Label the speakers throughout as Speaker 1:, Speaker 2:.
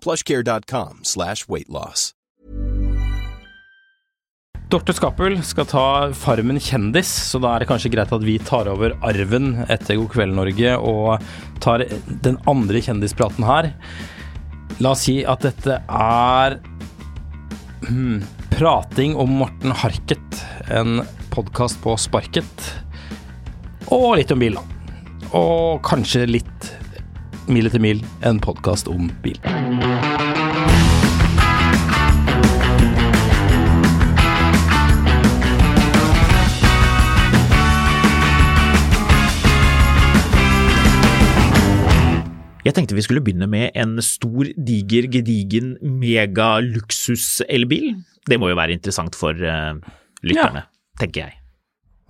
Speaker 1: plushcare.com slash weight loss.
Speaker 2: Dorte Skappel skal ta Farmen kjendis, så da er det kanskje greit at vi tar over arven etter God kveld, Norge, og tar den andre kjendispraten her. La oss si at dette er hmm, prating om Morten Harket, en podkast på sparket, og litt om bil, da. Og kanskje litt Mil etter mil, en podkast om bil.
Speaker 3: Jeg tenkte vi skulle begynne med en stor, diger, gedigen, megaluksus-elbil. Det må jo være interessant for eh, lytterne, tenker jeg.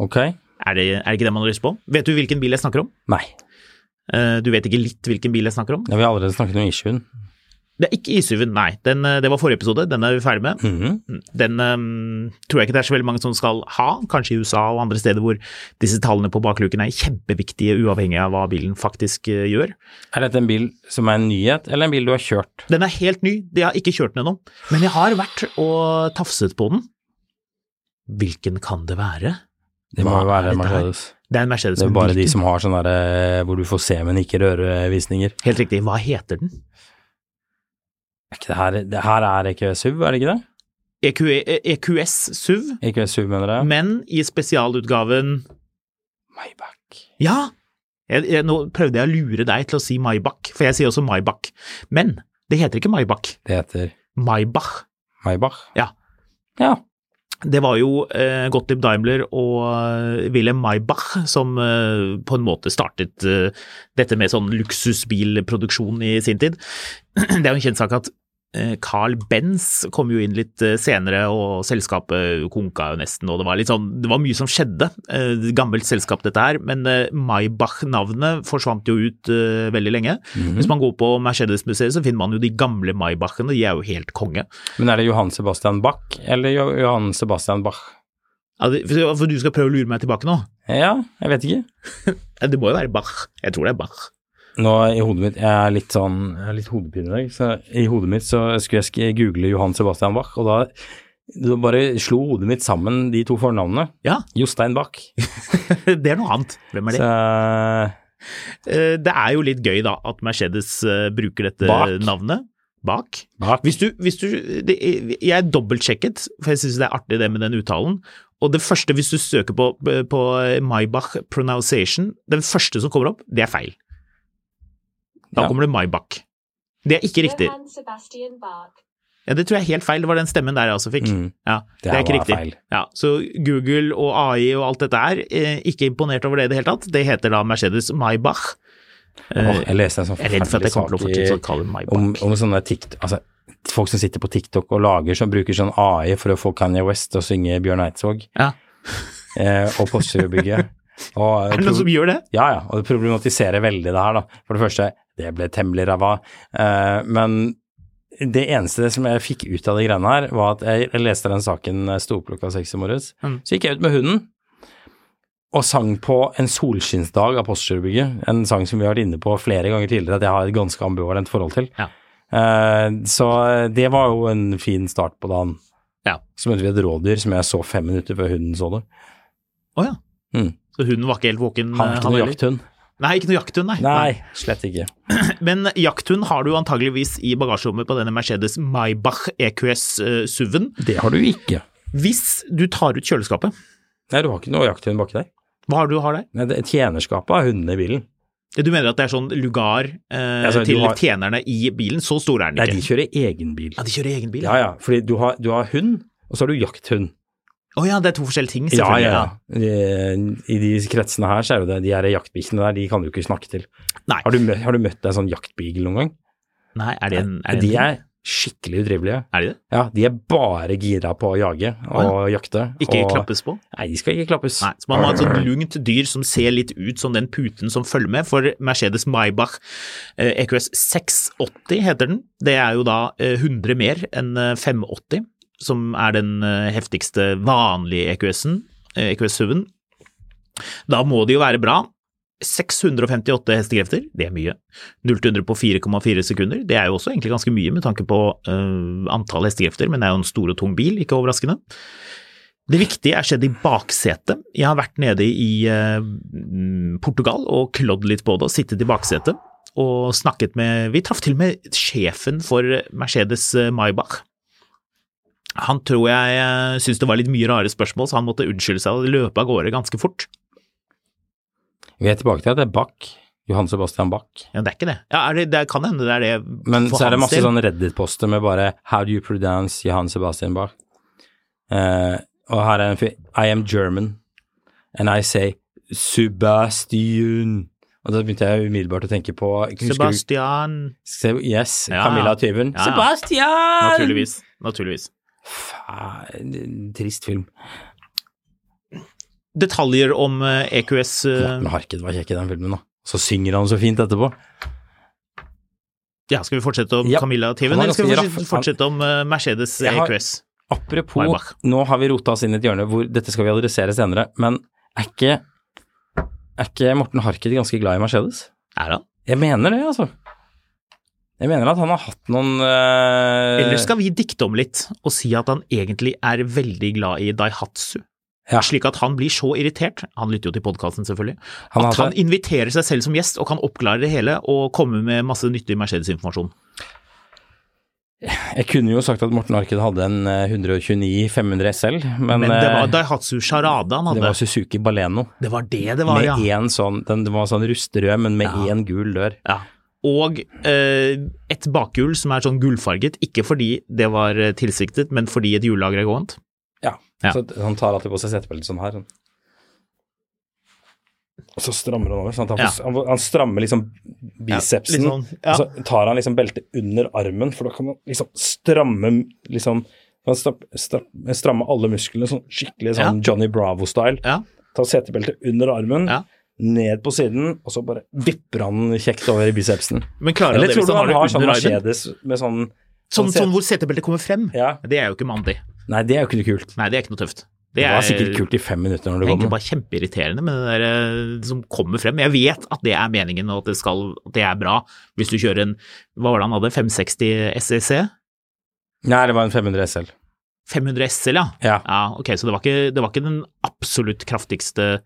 Speaker 2: Ok?
Speaker 3: Er det, er det ikke det man har lyst på? Vet du hvilken bil jeg snakker om?
Speaker 2: Nei.
Speaker 3: Eh, du vet ikke litt hvilken bil jeg snakker om?
Speaker 2: Ja, vi har allerede snakket om Ishuen.
Speaker 3: Det er ikke i7-en, nei. Den, eh, det var forrige episode, den er vi ferdig med.
Speaker 2: Mhm.
Speaker 3: Den eh, tror jeg ikke det er så veldig mange som skal ha, kanskje i USA og andre steder hvor disse tallene på bakluken er kjempeviktige, uavhengig av hva bilen faktisk eh, gjør.
Speaker 2: Er dette en bil som er en nyhet, eller en bil du har kjørt?
Speaker 3: Den er helt ny, jeg har ikke kjørt den ennå, men jeg har vært og tafset på den. Hvilken kan det være?
Speaker 2: Det må
Speaker 3: Hva
Speaker 2: jo
Speaker 3: er
Speaker 2: være en
Speaker 3: dette her?
Speaker 2: Mercedes.
Speaker 3: Det er en Mercedes.
Speaker 2: Det er
Speaker 3: men
Speaker 2: bare de
Speaker 3: hvilken?
Speaker 2: som har sånn derre hvor du får se, men ikke røre-visninger.
Speaker 3: Helt riktig, hva heter den?
Speaker 2: Er ikke det her Det her er ikke SUV, er det ikke det?
Speaker 3: EQ, EQS E SUV,
Speaker 2: Ikke SUV, mener jeg.
Speaker 3: men i spesialutgaven
Speaker 2: Maybach.
Speaker 3: Ja! Jeg, jeg, nå prøvde jeg å lure deg til å si Maybach, for jeg sier også Maybach. Men det heter ikke Maybach.
Speaker 2: Det heter
Speaker 3: Maybach.
Speaker 2: Maybach.
Speaker 3: Ja.
Speaker 2: Ja.
Speaker 3: Det var jo eh, Gottlieb Daimler og eh, Wilhelm Maybach som eh, på en måte startet eh, dette med sånn luksusbilproduksjon i sin tid. Det er jo en kjent sak at eh, Carl Benz kom jo inn litt eh, senere, og selskapet konka jo nesten, og det var, litt sånn, det var mye som skjedde. Eh, gammelt selskap dette her, men eh, Maybach-navnet forsvant jo ut eh, veldig lenge.
Speaker 2: Mm.
Speaker 3: Hvis man går på Mercedes-museet, så finner man jo de gamle Maybachene, de er jo helt konge.
Speaker 2: Men er det Johan Sebastian Bach eller Jo- Johan Sebastian Bach?
Speaker 3: Ja, det- For for du skal prøve å lure meg tilbake nå?
Speaker 2: Ja, jeg vet ikke.
Speaker 3: Ja, Eh, Det må jo være Bach. Jeg tror det er Bach.
Speaker 2: Nå i hodet mitt, jeg er litt sånn, jeg er litt hodepine i dag, så i hodet mitt så skulle jeg sk- google Johan Sebastian Bach, og da, da bare slo hodet mitt sammen de to fornavnene.
Speaker 3: Ja,
Speaker 2: Jostein Bach.
Speaker 3: det er noe annet. Hvem er det?
Speaker 2: Så,
Speaker 3: Eh, Det er jo litt gøy da at Mercedes eh, bruker dette
Speaker 2: Bak.
Speaker 3: navnet. Bak.
Speaker 2: Bak.
Speaker 3: Hvis du, hvis du det, Jeg dobbeltsjekket, for jeg syns det er artig det med den uttalen. Og det første, hvis du søker på, på Maybach pronunciation, den første som kommer opp, det er feil. Da
Speaker 2: Ja.
Speaker 3: kommer det Maybach. Det er ikke riktig.
Speaker 4: Johann Sebastian Bach.
Speaker 3: Ja, det tror jeg er helt feil. Det var den stemmen der jeg også fikk.
Speaker 2: Mm.
Speaker 3: Ja,
Speaker 2: Det
Speaker 3: det,
Speaker 2: er
Speaker 3: er ikke
Speaker 2: bare
Speaker 3: riktig.
Speaker 2: feil.
Speaker 3: Ja, så Google og AI og alt dette her, eh, ikke imponert over det i det hele tatt. Det heter da Mercedes Maybach. Eh,
Speaker 2: Åh, jeg leste en sånn
Speaker 3: jeg er redd for at jeg kommer til å
Speaker 2: forferdelig
Speaker 3: fortsette å
Speaker 2: sak
Speaker 3: kalle det
Speaker 2: i, om,
Speaker 3: Maybach.
Speaker 2: om sånne TikTok, altså folk som sitter på TikTok og lager, som bruker sånn AI for å få Kanye West til å synge Bjørn Eidsvåg,
Speaker 3: Ja.
Speaker 2: eh, og Posterudbygget. Og,
Speaker 3: Er det noen som gjør det?
Speaker 2: Ja, ja, og det problematiserer veldig det her, da. For det første, det ble temmelig ræva. Eh, men det eneste som jeg fikk ut av de greiene her, var at jeg jeg leste den saken eh, sto opp klokka seks i morges.
Speaker 3: Mm.
Speaker 2: Så gikk jeg ut med hunden og sang på en solskinnsdag av Postgirobygget. En sang som vi har vært inne på flere ganger tidligere, at jeg har et ganske ambivalent forhold til.
Speaker 3: Ja.
Speaker 2: Eh, så det var jo en fin start på dagen.
Speaker 3: Ja.
Speaker 2: Så møtte vi et rådyr som jeg så fem minutter før hunden så det.
Speaker 3: Å ja.
Speaker 2: Mm.
Speaker 3: Så hunden var ikke helt våken?
Speaker 2: Han
Speaker 3: eh,
Speaker 2: var ikke noe
Speaker 3: heller?
Speaker 2: jakthund.
Speaker 3: Nei, ikke noe jakthund, nei.
Speaker 2: Nei, slett ikke.
Speaker 3: Men jakthund har du antageligvis i bagasjerommet på denne Mercedes Maybach EQS eh, SUV-en.
Speaker 2: Det har du ikke.
Speaker 3: Hvis du tar ut kjøleskapet,
Speaker 2: Nei, du har ikke noe jakthund baki deg.
Speaker 3: hva har du har der?
Speaker 2: Nei, det- Tjenerskapet har hundene i bilen.
Speaker 3: Du mener at det er sånn lugar eh,
Speaker 2: Altså, du
Speaker 3: til
Speaker 2: har-
Speaker 3: tjenerne i bilen? Så stor er den
Speaker 2: Nei,
Speaker 3: ikke.
Speaker 2: de kjører egen bil.
Speaker 3: Ja, de kjører egen bil. Å ja.
Speaker 2: Ja ja, fordi du har, du har hund, og så har du jakthund.
Speaker 3: det er to forskjellige ting,
Speaker 2: Ja
Speaker 3: selvfølgelig.
Speaker 2: ja. De, I de kretsene her så er det jo det, de her jaktbikkjene der, de kan du ikke snakke til.
Speaker 3: Nei.
Speaker 2: Har du, mø- har du møtt en sånn jaktbeagle noen gang?
Speaker 3: Nei, er det en, er det
Speaker 2: de
Speaker 3: en
Speaker 2: er skikkelig utrivelige.
Speaker 3: Er de det?
Speaker 2: Ja, de er bare gira på å jage og jakte.
Speaker 3: Ikke
Speaker 2: og,
Speaker 3: klappes på?
Speaker 2: Nei, de skal ikke klappes.
Speaker 3: Nei, så man må ha et sånt lungt dyr som ser litt ut som den puten som følger med, for Mercedes Maybach eh, EQS 680 heter den. Det er jo da eh, 100 mer enn eh, 580, som er den eh, heftigste vanlige EQS-en, eh, EQS-SUV-en. Da må det jo være bra. 658 hestekrefter, det er mye. 0-100 på 4,4 sekunder, det er jo også egentlig ganske mye med tanke på eh, antall hestekrefter, men det er jo en stor og tung bil, ikke overraskende. Det viktige er skjedd i baksetet. Jeg har vært nede i eh, mm, Portugal og klådd litt på det og sittet i baksetet og snakket med Vi traff til og med sjefen for Mercedes eh, Maybach. Han tror jeg eh, syntes det var litt mye rare spørsmål, så han måtte unnskylde seg og løpe av gårde ganske fort.
Speaker 2: Vi er tilbake til at det er Bach. Johan Sebastian Bach.
Speaker 3: Ja, det er ikke det. Ja, er det, det kan hende det er det.
Speaker 2: Men
Speaker 3: for
Speaker 2: så er det
Speaker 3: hans
Speaker 2: masse
Speaker 3: del.
Speaker 2: sånn Reddit-poster med bare How do you pronounce Johan Sebastian Bach? Eh, og her er en fyr I am German, and I say Sebastian. Og da begynte jeg umiddelbart å tenke på husker du-
Speaker 3: Sebastian
Speaker 2: Se- Yes,
Speaker 3: Ja.
Speaker 2: Camilla Tyven.
Speaker 3: Ja, ja.
Speaker 2: Sebastian!
Speaker 3: Naturligvis. Naturligvis.
Speaker 2: Faen, trist film.
Speaker 3: Detaljer om eh, EQS eh,
Speaker 2: Morten Harket var kjekk i den filmen, da. Så synger han så fint etterpå.
Speaker 3: Ja, skal vi fortsette om
Speaker 2: Ja.
Speaker 3: Camilla Tiven,
Speaker 2: Han er
Speaker 3: eller skal vi
Speaker 2: ganske
Speaker 3: fortsette,
Speaker 2: raff.
Speaker 3: fortsette om eh, Mercedes
Speaker 2: Jeg har-
Speaker 3: EQS?
Speaker 2: Apropos,
Speaker 3: Maybach.
Speaker 2: nå har vi rota oss inn i et hjørne hvor dette skal vi adressere senere, men er ikke, er ikke Morten Harket ganske glad i Mercedes?
Speaker 3: Er han?
Speaker 2: Jeg mener det, altså. Jeg mener at han har hatt noen eh,
Speaker 3: Eller skal vi dikte om litt og si at han egentlig er veldig glad i Daihatsu?
Speaker 2: Ja.
Speaker 3: Slik at han blir så irritert, han lytter jo til podkasten selvfølgelig,
Speaker 2: Han
Speaker 3: at
Speaker 2: hadde-
Speaker 3: han inviterer seg selv som gjest og kan oppklare det hele og komme med masse nyttig Mercedes-informasjon.
Speaker 2: Jeg kunne jo sagt at Morten Harket hadde en eh, 129 500 SL, men,
Speaker 3: Men det
Speaker 2: eh,
Speaker 3: var Daihatsu Charade han
Speaker 2: det
Speaker 3: hadde.
Speaker 2: var Suzuki Baleno.
Speaker 3: Det var det det var,
Speaker 2: med
Speaker 3: ja.
Speaker 2: én sånn, den den var sånn rustrød, men med én gul dør.
Speaker 3: ja. Og eh, et bakhjul som er sånn gullfarget, ikke fordi det var eh, tilsiktet, men fordi et hjullager er gåent.
Speaker 2: Ja.
Speaker 3: Ja.
Speaker 2: Så han tar alltid på seg setebeltet sånn her. Sånn. Og så strammer han over. Sånn at han, får, han, får- han strammer liksom bicepsen,
Speaker 3: Ja, litt sånn, ja.
Speaker 2: og så tar han liksom beltet under armen, for da kan han liksom stramme liksom han stra- stra- stramme alle musklene sånn skikkelig sånn Johnny Bravo-style.
Speaker 3: Ja.
Speaker 2: Tar setebeltet under armen,
Speaker 3: Ja.
Speaker 2: ned på siden, og så bare vipper han kjekt over i bicepsen.
Speaker 3: Men klarer han
Speaker 2: Eller
Speaker 3: det
Speaker 2: tror
Speaker 3: hvis
Speaker 2: du
Speaker 3: han
Speaker 2: han
Speaker 3: har
Speaker 2: har
Speaker 3: det
Speaker 2: sånn
Speaker 3: under armen?
Speaker 2: Mercedes med sånn
Speaker 3: Sånn,
Speaker 2: set-
Speaker 3: sånn hvor setebeltet kommer frem?
Speaker 2: Ja.
Speaker 3: Det er jo ikke mandig.
Speaker 2: Nei, det er jo ikke noe kult.
Speaker 3: Nei, det er ikke noe tøft.
Speaker 2: Det, var
Speaker 3: er-
Speaker 2: sikkert kult i fem minutter når
Speaker 3: Det
Speaker 2: du
Speaker 3: er
Speaker 2: kom.
Speaker 3: egentlig bare kjempeirriterende med det der eh, som kommer frem. Jeg vet at det er meningen og at det, skal, at det er bra hvis du kjører en Hva var det han hadde? 560 SEC?
Speaker 2: Nei, det var en 500 SL.
Speaker 3: 500 SL, ja.
Speaker 2: Ja.
Speaker 3: E ja ok, så det var ikke, det var ikke den absolutt kraftigste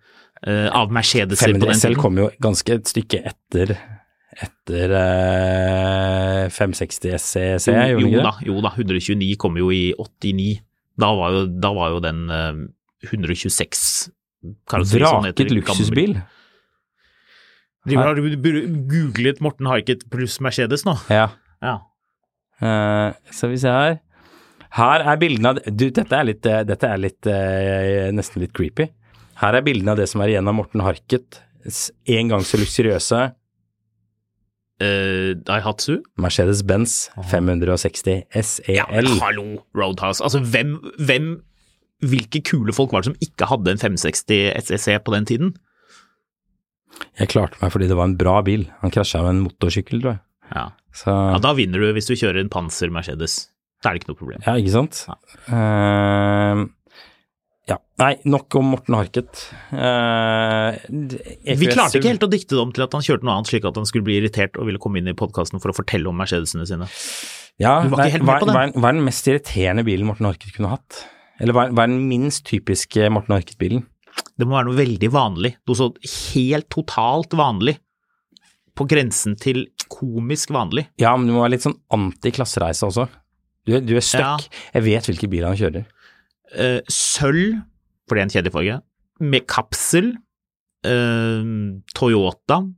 Speaker 3: eh, av Mercedeser på
Speaker 2: 500
Speaker 3: den
Speaker 2: SL
Speaker 3: tiden.
Speaker 2: kom jo ganske et stykke etter etter eh, 560 SEC,
Speaker 3: Jo,
Speaker 2: gjorde den
Speaker 3: jo
Speaker 2: ikke
Speaker 3: da,
Speaker 2: det?
Speaker 3: jo da, 129 kom jo i 89. Da var jo, da var jo den eh, 126 karosseri som heter
Speaker 2: Vraket luksusbil.
Speaker 3: Driver har du bur- googlet Morten Harket pluss Mercedes nå?
Speaker 2: Ja.
Speaker 3: Ja.
Speaker 2: Eh, skal vi se her. Her er bildene av Du, dette er litt, eh, dette er litt eh, nesten litt creepy. Her er bildene av det som er igjen av Morten Harkets en gang så luksuriøse
Speaker 3: Eh, Daihatsu?
Speaker 2: Mercedes-Benz 560 SEL.
Speaker 3: Ja, men hallo, Roadhouse. Altså, hvem, hvem Hvilke kule folk var det som ikke hadde en 560 SEC E på den tiden?
Speaker 2: Jeg klarte meg fordi det var en bra bil. Han krasja med en motorsykkel, tror jeg.
Speaker 3: Ja.
Speaker 2: Så,
Speaker 3: ja,
Speaker 2: ja,
Speaker 3: Da vinner du hvis du kjører en Panser Mercedes. Da er det ikke noe problem.
Speaker 2: ikke sant?
Speaker 3: Ja.
Speaker 2: Eh, ja. Nei, nok om Morten Harket. Eh, d-
Speaker 3: Vi
Speaker 2: EQS
Speaker 3: klarte ikke
Speaker 2: SUV.
Speaker 3: helt å dikte det om til at han kjørte noe annet, slik at han skulle bli irritert og ville komme inn i podkasten for å fortelle om Mercedesene sine.
Speaker 2: ja,
Speaker 3: Du var ikke
Speaker 2: nei,
Speaker 3: helt med
Speaker 2: hva-
Speaker 3: på den.
Speaker 2: Hva, er- hva er den mest irriterende bilen Morten Harket kunne hatt? Eller hva, er- hva er den minst typiske Morten Harket-bilen?
Speaker 3: Det må være noe veldig vanlig. Noe sånn helt totalt vanlig. På grensen til komisk vanlig.
Speaker 2: Ja, men du må være litt sånn anti-klassereise også. Du, er- du er stuck. Jeg vet hvilke biler han kjører.
Speaker 3: Eh, sølv, for det er en kjedelig farge, med kapsel, eh, Toyota,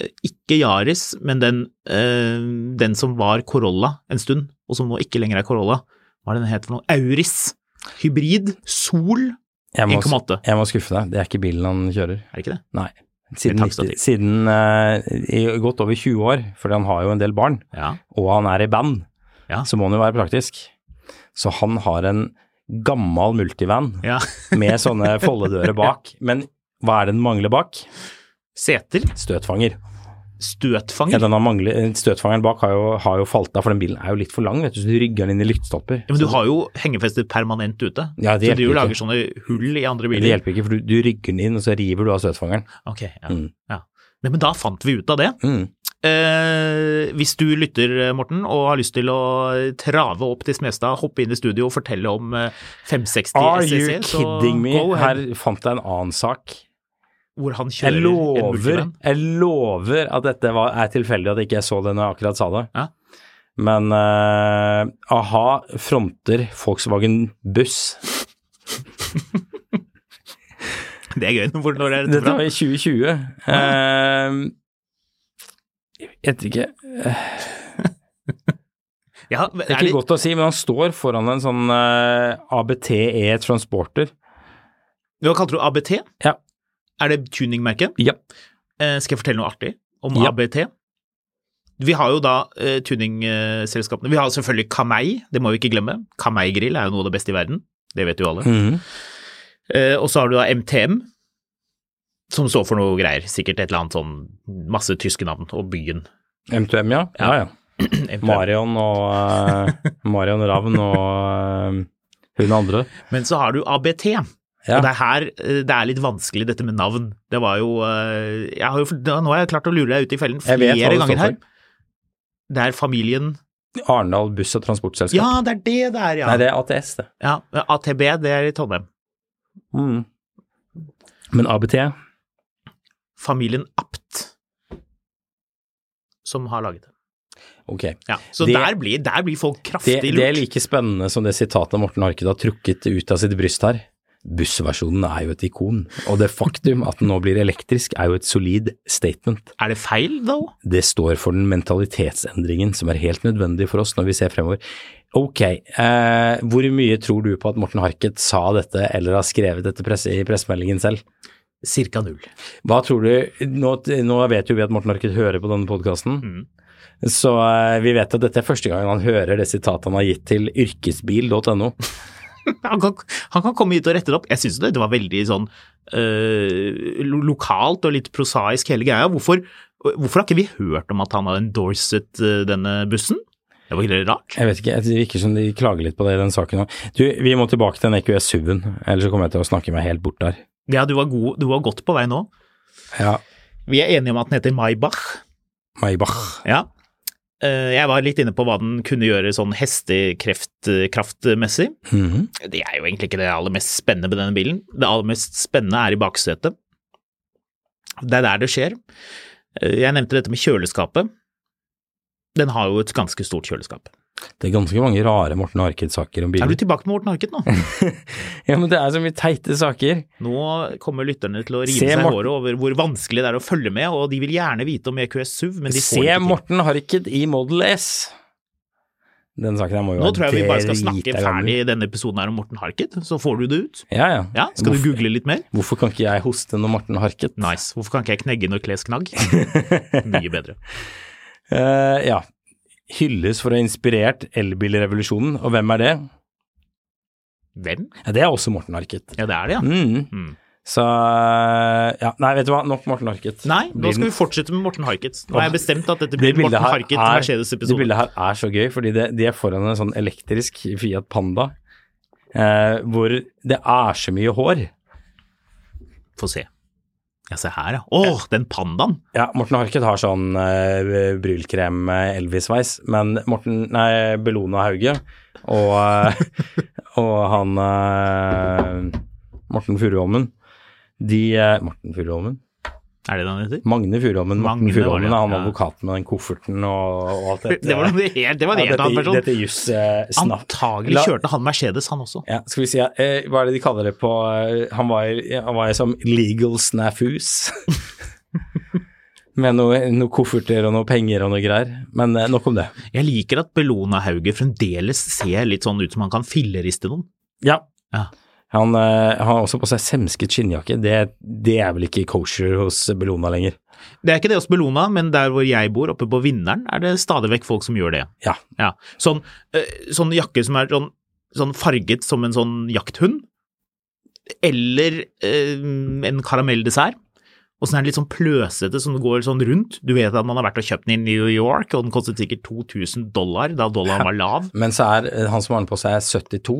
Speaker 3: eh, ikke Yaris, men den, eh, den som var Corolla en stund, og som nå ikke lenger er Corolla. Hva er den het for noe? Auris. Hybrid. Sol.
Speaker 2: Jeg må,
Speaker 3: 1,8.
Speaker 2: jeg må skuffe deg, det er ikke bilen han kjører.
Speaker 3: Er det ikke det?
Speaker 2: Nei. Siden,
Speaker 3: Med takstativ.
Speaker 2: 90, siden eh, i godt over 20 år, fordi han har jo en del barn,
Speaker 3: Ja.
Speaker 2: og han er i band,
Speaker 3: Ja.
Speaker 2: så må han jo være praktisk. Så han har en gammel multivan
Speaker 3: ja.
Speaker 2: med sånne foldedører bak, men hva er det den mangler bak?
Speaker 3: Seter.
Speaker 2: Støtfanger. Ja,
Speaker 3: Støtfanger.
Speaker 2: den har manglet, eh, støtfangeren bak har jo, har jo falt av, for den bilen er jo litt for lang, vet du, så du rygger den inn i lyktestolper.
Speaker 3: Ja, men du har jo hengefester permanent ute,
Speaker 2: Ja, det
Speaker 3: så du
Speaker 2: hjelper
Speaker 3: lager
Speaker 2: ikke.
Speaker 3: sånne hull i andre
Speaker 2: Men Det
Speaker 3: biler.
Speaker 2: hjelper ikke, for du, du rygger den inn, og så river du av støtfangeren.
Speaker 3: Ok, ja.
Speaker 2: Mm.
Speaker 3: ja. Nei, men da fant vi ut av det.
Speaker 2: Mm.
Speaker 3: Eh, hvis du lytter, Morten, og har lyst til å trave opp til Smestad, hoppe inn i studio og fortelle om eh, 560
Speaker 2: Are
Speaker 3: SEC,
Speaker 2: you
Speaker 3: så
Speaker 2: kidding me?
Speaker 3: go ahead,
Speaker 2: Her fant jeg en annen sak.
Speaker 3: hvor han kjører
Speaker 2: Jeg
Speaker 3: en
Speaker 2: lover,
Speaker 3: multivan.
Speaker 2: jeg lover at dette var, er tilfeldig at ikke jeg så det når jeg akkurat sa det.
Speaker 3: Ja.
Speaker 2: Men eh, a-ha fronter Volkswagen buss.
Speaker 3: Det er gøy. Hvor, når er dette
Speaker 2: Dette
Speaker 3: fra?
Speaker 2: var i 2020. Eh, jeg vet ikke.
Speaker 3: Ja,
Speaker 2: Det er ikke
Speaker 3: er det,
Speaker 2: godt å si, men han står foran en sånn eh, ABT-E Transporter.
Speaker 3: hva kalte du ABT?
Speaker 2: Ja.
Speaker 3: Er det tuningmerket?
Speaker 2: Ja.
Speaker 3: Eh, skal jeg fortelle noe artig om
Speaker 2: Ja.
Speaker 3: ABT? Vi har jo da eh, tuningselskapene. Vi har selvfølgelig Kamei, det må vi ikke glemme. Kamei grill er jo noe av det beste i verden. Det vet jo alle.
Speaker 2: Mhm.
Speaker 3: Eh, og så har du da MTM, som står for noe greier. Sikkert et eller annet sånn masse tyske navn, og byen.
Speaker 2: M2M, ja. ja, ja.
Speaker 3: MTM.
Speaker 2: Marion og eh, Marion Ravn og eh, hun andre.
Speaker 3: Men så har du ABT.
Speaker 2: Ja.
Speaker 3: Og det er her eh, det er litt vanskelig, dette med navn. Det var jo, eh, jeg har jo da, Nå har jeg klart å lure deg ut i fellen
Speaker 2: Jeg vet hva
Speaker 3: flere
Speaker 2: det står
Speaker 3: ganger her.
Speaker 2: for.
Speaker 3: Det er familien
Speaker 2: Arendal buss- og transportselskap.
Speaker 3: Ja, det er det det er, ja.
Speaker 2: Nei, det er ATS, det.
Speaker 3: ja. ATB, det er i Trondheim.
Speaker 2: Mm. Men ABT
Speaker 3: Familien Apt som har laget det.
Speaker 2: Ok.
Speaker 3: Ja, så
Speaker 2: Det-
Speaker 3: der, blir, der blir folk
Speaker 2: Det,
Speaker 3: kraftig
Speaker 2: det er
Speaker 3: lurt.
Speaker 2: like spennende som det sitatet Morten Harket har trukket ut av sitt bryst her. Bussversjonen er jo et ikon, og det faktum at den nå blir elektrisk er jo et solid statement.
Speaker 3: Er det feil, though?
Speaker 2: Det står for den mentalitetsendringen som er helt nødvendig for oss når vi ser fremover. Ok, eh, hvor mye tror du på at Morten Harket sa dette eller har skrevet dette presse, i pressemeldingen selv?
Speaker 3: Cirka null.
Speaker 2: Hva tror du, nå, nå vet jo vi at Morten Harket hører på denne podkasten,
Speaker 3: Mm.
Speaker 2: så eh, vi vet at dette er første gangen han hører det sitatet han har gitt til yrkesbil.no.
Speaker 3: Han kan, han kan komme hit og rette det opp. Jeg syns det, det var veldig sånn øh, lo- lokalt og litt prosaisk hele greia. Hvorfor, hvorfor har ikke vi hørt om at han har endorset øh, denne bussen? Det var veldig rart.
Speaker 2: Jeg vet ikke, det virker som de klager litt på det i den saken òg. Du, vi må tilbake til den EQS SUV-en, ellers så kommer jeg til å snakke meg helt bort der.
Speaker 3: Ja, du var, god, du var godt på vei nå.
Speaker 2: Ja,
Speaker 3: Vi er enige om at den heter Maybach.
Speaker 2: Maybach.
Speaker 3: Ja. Eh, Jeg var litt inne på hva den kunne gjøre sånn hestekraftmessig.
Speaker 2: Mhm.
Speaker 3: Det er jo egentlig ikke det aller mest spennende med denne bilen. Det aller mest spennende er i baksetet. Det er der det skjer. Eh, Jeg nevnte dette med kjøleskapet. Den har jo et ganske stort kjøleskap.
Speaker 2: Det er ganske mange rare Morten Harket-saker om
Speaker 3: Er
Speaker 2: biler.
Speaker 3: du tilbake med Morten Harket nå?
Speaker 2: Ja, men det er så mye teite saker.
Speaker 3: Nå kommer lytterne til å rive
Speaker 2: Se
Speaker 3: seg i
Speaker 2: Morten.
Speaker 3: håret over hvor vanskelig det er å følge med, og de vil gjerne vite om EQS SUV, men de får
Speaker 2: Se
Speaker 3: det ikke til.
Speaker 2: Morten Harket i Model S. Den saken her må jo
Speaker 3: Nå tror jeg vi bare skal
Speaker 2: drita
Speaker 3: snakke
Speaker 2: gammel.
Speaker 3: ferdig i denne episoden her om Morten Harket, så får du det ut.
Speaker 2: Ja, ja.
Speaker 3: Ja, skal du
Speaker 2: hvorfor,
Speaker 3: google litt mer?
Speaker 2: hvorfor kan ikke jeg hoste når Morten Harket?
Speaker 3: Nice. Hvorfor kan ikke jeg knegge når kles knagg? Mye bedre.
Speaker 2: Eh, ja. Hylles for å ha inspirert elbilrevolusjonen, og hvem er det?
Speaker 3: Hvem?
Speaker 2: Ja, det er også Morten Harket.
Speaker 3: Ja, det er det, ja.
Speaker 2: Mm.
Speaker 3: Mm.
Speaker 2: Så eh, ja, nei, vet du hva, nok Morten Harket.
Speaker 3: Nei, nå
Speaker 2: Blir
Speaker 3: skal
Speaker 2: den-
Speaker 3: vi fortsette med Morten Harket. Nå har jeg bestemt at dette
Speaker 2: det
Speaker 3: blir en
Speaker 2: bildet,
Speaker 3: Morten
Speaker 2: her
Speaker 3: Harket
Speaker 2: er, det
Speaker 3: Mercedes-episode.
Speaker 2: bildet her er så gøy, fordi det, de er foran en sånn elektrisk Fiat Panda, eh, hvor det er så mye hår.
Speaker 3: Få se. Ja, se her, ja. Åh, den pandaen!
Speaker 2: Ja, Morten Harket har sånn eh, brylkrem eh, Elvis-sveis, men Morten, nei, Bellona Hauge og, eh, og han eh, Morten Furuholmen De eh, Morten Furuholmen?
Speaker 3: Er det det han heter?
Speaker 2: Magne Furuholmen. Morten
Speaker 3: Magne var det,
Speaker 2: Furuholmen er han
Speaker 3: ja.
Speaker 2: advokaten med den kofferten og, og alt dette.
Speaker 3: Det var noe helt, det var en
Speaker 2: Ja,
Speaker 3: helt
Speaker 2: dette,
Speaker 3: annen person.
Speaker 2: dette jussnapp.
Speaker 3: Antagelig
Speaker 2: La-
Speaker 3: kjørte han Mercedes, han også.
Speaker 2: Ja, skal vi si, ja, eh, Hva er det de kaller det på eh, Han var, ja, han var som legal snafus. Med noe- noen kofferter og noe penger og noe greier. Men eh, nok om det.
Speaker 3: Jeg liker at Bellona Hauge fremdeles ser litt sånn ut som han kan filleriste noen.
Speaker 2: Ja.
Speaker 3: Ja.
Speaker 2: Han eh, har også på seg semsket skinnjakke. Det, det er vel ikke kosher hos Bellona lenger.
Speaker 3: Det er ikke det hos Bellona, men der hvor jeg bor, oppe på Vinneren, er det stadig vekk folk som gjør det.
Speaker 2: Ja.
Speaker 3: Ja. Sånn, eh, sånn jakke som er sånn, sånn farget som en sånn jakthund, eller eh, en karamelldessert. Og så er den litt sånn pløsete som går sånn rundt. Du vet at man har vært og kjøpt den i New York, og den kostet sikkert 2000 dollar da dollaren var lav.
Speaker 2: Men så er eh, han som har den på seg, 72.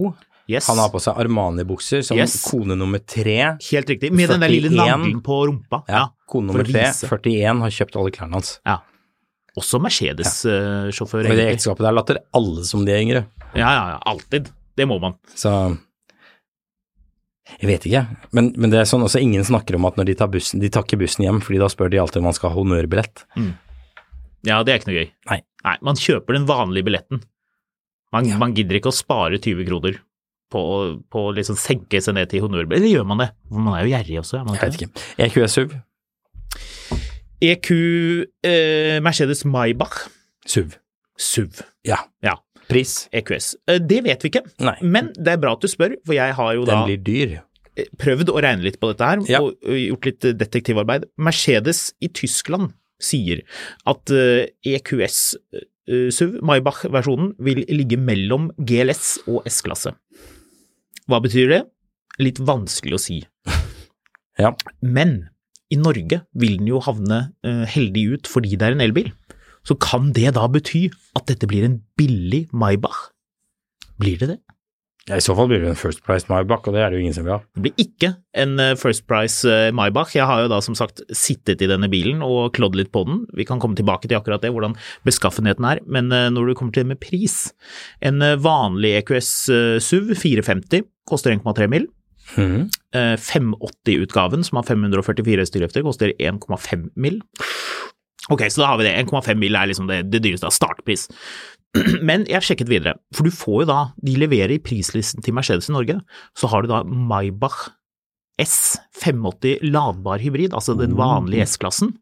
Speaker 3: Yes.
Speaker 2: Han har på seg Armani-bukser som
Speaker 3: Yes.
Speaker 2: kone nummer tre.
Speaker 3: Helt riktig. Med den der lille
Speaker 2: 41.
Speaker 3: naglen på rumpa.
Speaker 2: Ja, kone nummer
Speaker 3: for å
Speaker 2: tre,
Speaker 3: vise.
Speaker 2: 41, har kjøpt alle klærne hans.
Speaker 3: Ja. Også
Speaker 2: Og i det
Speaker 3: Mercedes-sjåfør, egentlig.
Speaker 2: ekteskapet der later alle som de er yngre.
Speaker 3: Ja, ja, ja, alltid. Det må man.
Speaker 2: Så jeg vet ikke, men, men det er sånn også ingen snakker om at når de tar bussen, de tar ikke bussen hjem, fordi da spør de alltid om man skal ha honnørbillett.
Speaker 3: Ja, det er ikke noe gøy.
Speaker 2: Nei.
Speaker 3: man kjøper den vanlige billetten. Man, man gidder ikke å spare 20 kroner på, å- på å liksom senke seg ned til honnør... Eller gjør man det? For Man er jo gjerrig også, er man
Speaker 2: Jeg vet ikke. E EQ er SUV.
Speaker 3: EQ eh, Mercedes Maybach
Speaker 2: SUV.
Speaker 3: SUV.
Speaker 2: Ja.
Speaker 3: Ja,
Speaker 2: Pris.
Speaker 3: EQS. Eh, det vet vi ikke,
Speaker 2: Nei.
Speaker 3: men det er bra at du spør, for jeg har Mm. jo
Speaker 2: E
Speaker 3: da
Speaker 2: Den blir dyr.
Speaker 3: eh, prøvd å regne litt på dette her,
Speaker 2: Ja.
Speaker 3: og og gjort litt eh, detektivarbeid. Mercedes i Tyskland sier at eh, EQS eh, SUV, Maybach-versjonen, vil ligge mellom GLS og S-klasse. Hva betyr det? Litt vanskelig å si.
Speaker 2: Ja.
Speaker 3: Men i Norge vil den jo havne eh, heldig ut fordi det er en elbil. Så kan det da bety at dette blir en billig Maybach? Blir det det?
Speaker 2: ja. I så fall blir det en First Price Maybach, og det er det jo ingen som vil ha.
Speaker 3: Det blir ikke en eh, First Price eh, Maybach. Jeg har jo da som sagt sittet i denne bilen og klådd litt på den. Vi kan komme tilbake til akkurat det, hvordan beskaffenheten er. Men eh, når du kommer til det med pris En eh, vanlig EQS eh, SUV 450 koster 1,3 mill.
Speaker 2: Mhm.
Speaker 3: Eh, 580-utgaven, som har 544 hestekreftene, koster 1,5 mill. Ok, så da har vi det. 1,5 mill er liksom det, det dyreste av startpris. Men jeg sjekket videre, for du får jo da De leverer i prislisten til Mercedes i Norge, så har du da Maybach S 580 ladbar hybrid, altså den vanlige S-klassen.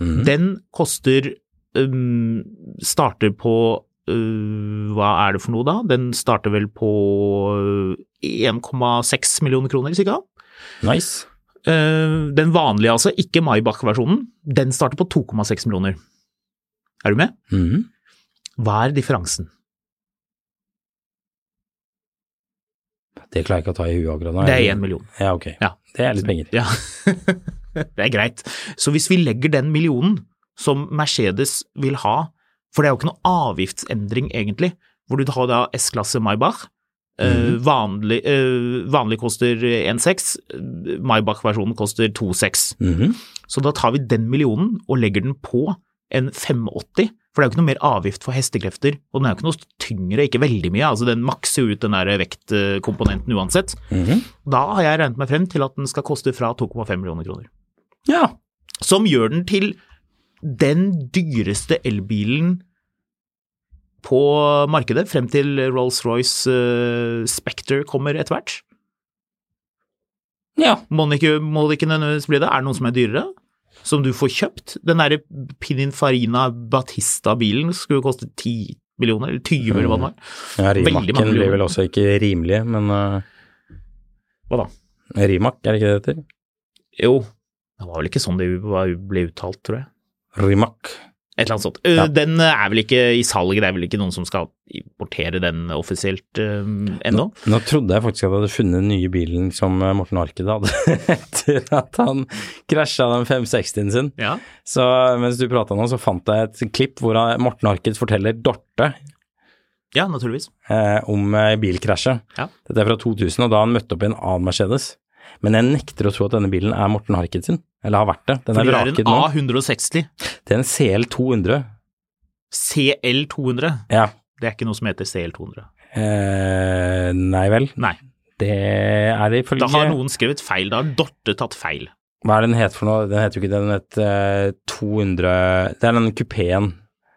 Speaker 2: Mhm.
Speaker 3: Den koster um, Starter på uh, Hva er det for noe, da? Den starter vel på uh, 1,6 millioner kroner, cirka.
Speaker 2: Nice.
Speaker 3: Eh, den vanlige, altså, ikke Maybach-versjonen, den starter på 2,6 millioner. Er du med?
Speaker 2: Mhm.
Speaker 3: Hva er differansen?
Speaker 2: Det klarer jeg ikke å ta i huet akkurat nå.
Speaker 3: Det er 1 million.
Speaker 2: Ja, ok.
Speaker 3: Ja.
Speaker 2: Det er litt penger.
Speaker 3: Ja, det er greit. Så hvis vi legger den millionen som Mercedes vil ha, for det er jo ikke noe avgiftsendring egentlig, hvor du har da S-klasse Maybach, eh, vanlig, eh, vanlig koster 1,6, eh, Maybach-versjonen koster 2,6.
Speaker 2: Mhm.
Speaker 3: Så da tar vi den millionen og legger den på en 580, for det er jo ikke noe mer avgift for hestekrefter, og den er jo ikke noe tyngre, ikke veldig mye, altså den makser jo ut den der vektkomponenten uansett.
Speaker 2: Mhm.
Speaker 3: Da har jeg regnet meg frem til at den skal koste fra 2,5 millioner kroner.
Speaker 2: Ja.
Speaker 3: Som gjør den til den dyreste elbilen på markedet, frem til Rolls-Royce eh, Spectre kommer etter hvert.
Speaker 2: Ja.
Speaker 3: Må den ikke, må det ikke nødvendigvis bli det? Er det noen som er dyrere? Som du får kjøpt? Den derre Pininfarina Batista-bilen skulle koste 10 millioner, eller 20, eller hva det var.
Speaker 2: ja
Speaker 3: Veldig mange
Speaker 2: Rimakken blir
Speaker 3: millioner.
Speaker 2: vel også ikke rimelig, men eh,
Speaker 3: Hva da?
Speaker 2: Rimak, er det ikke det det heter?
Speaker 3: Jo, det var vel ikke sånn det var- ble uttalt, tror jeg.
Speaker 2: Rimak.
Speaker 3: Et eller annet sånt.
Speaker 2: Ja.
Speaker 3: Eh, Den er vel ikke i salg, det er vel ikke noen som skal importere den offisielt eh, ennå?
Speaker 2: Nå trodde jeg faktisk at jeg hadde funnet den nye bilen som eh, Morten Harket hadde etter at han krasja den 560-en sin.
Speaker 3: Ja.
Speaker 2: Så eh, mens du prata nå, så fant jeg et klipp hvor han- Morten Harket forteller Dorte
Speaker 3: ja, naturligvis.
Speaker 2: eh, om eh, bilkrasjet.
Speaker 3: Ja.
Speaker 2: Dette er fra 2000, og da han møtte opp i en annen Mercedes. Men jeg nekter å tro at denne bilen er Morten Harket sin, eller har vært det. Den
Speaker 3: For
Speaker 2: er
Speaker 3: det er en
Speaker 2: vraket nå.
Speaker 3: A160
Speaker 2: Det er en CL 200.
Speaker 3: CL200.
Speaker 2: Ja.
Speaker 3: Det er ikke noe som heter CL200.
Speaker 2: Eh, nei vel.
Speaker 3: Nei.
Speaker 2: Det er det ifølge
Speaker 3: Da har noen skrevet feil. Da har Dorte tatt feil.
Speaker 2: Hva er det den het for noe? Den heter jo ikke det, den het eh, 200 Det er den kupeen.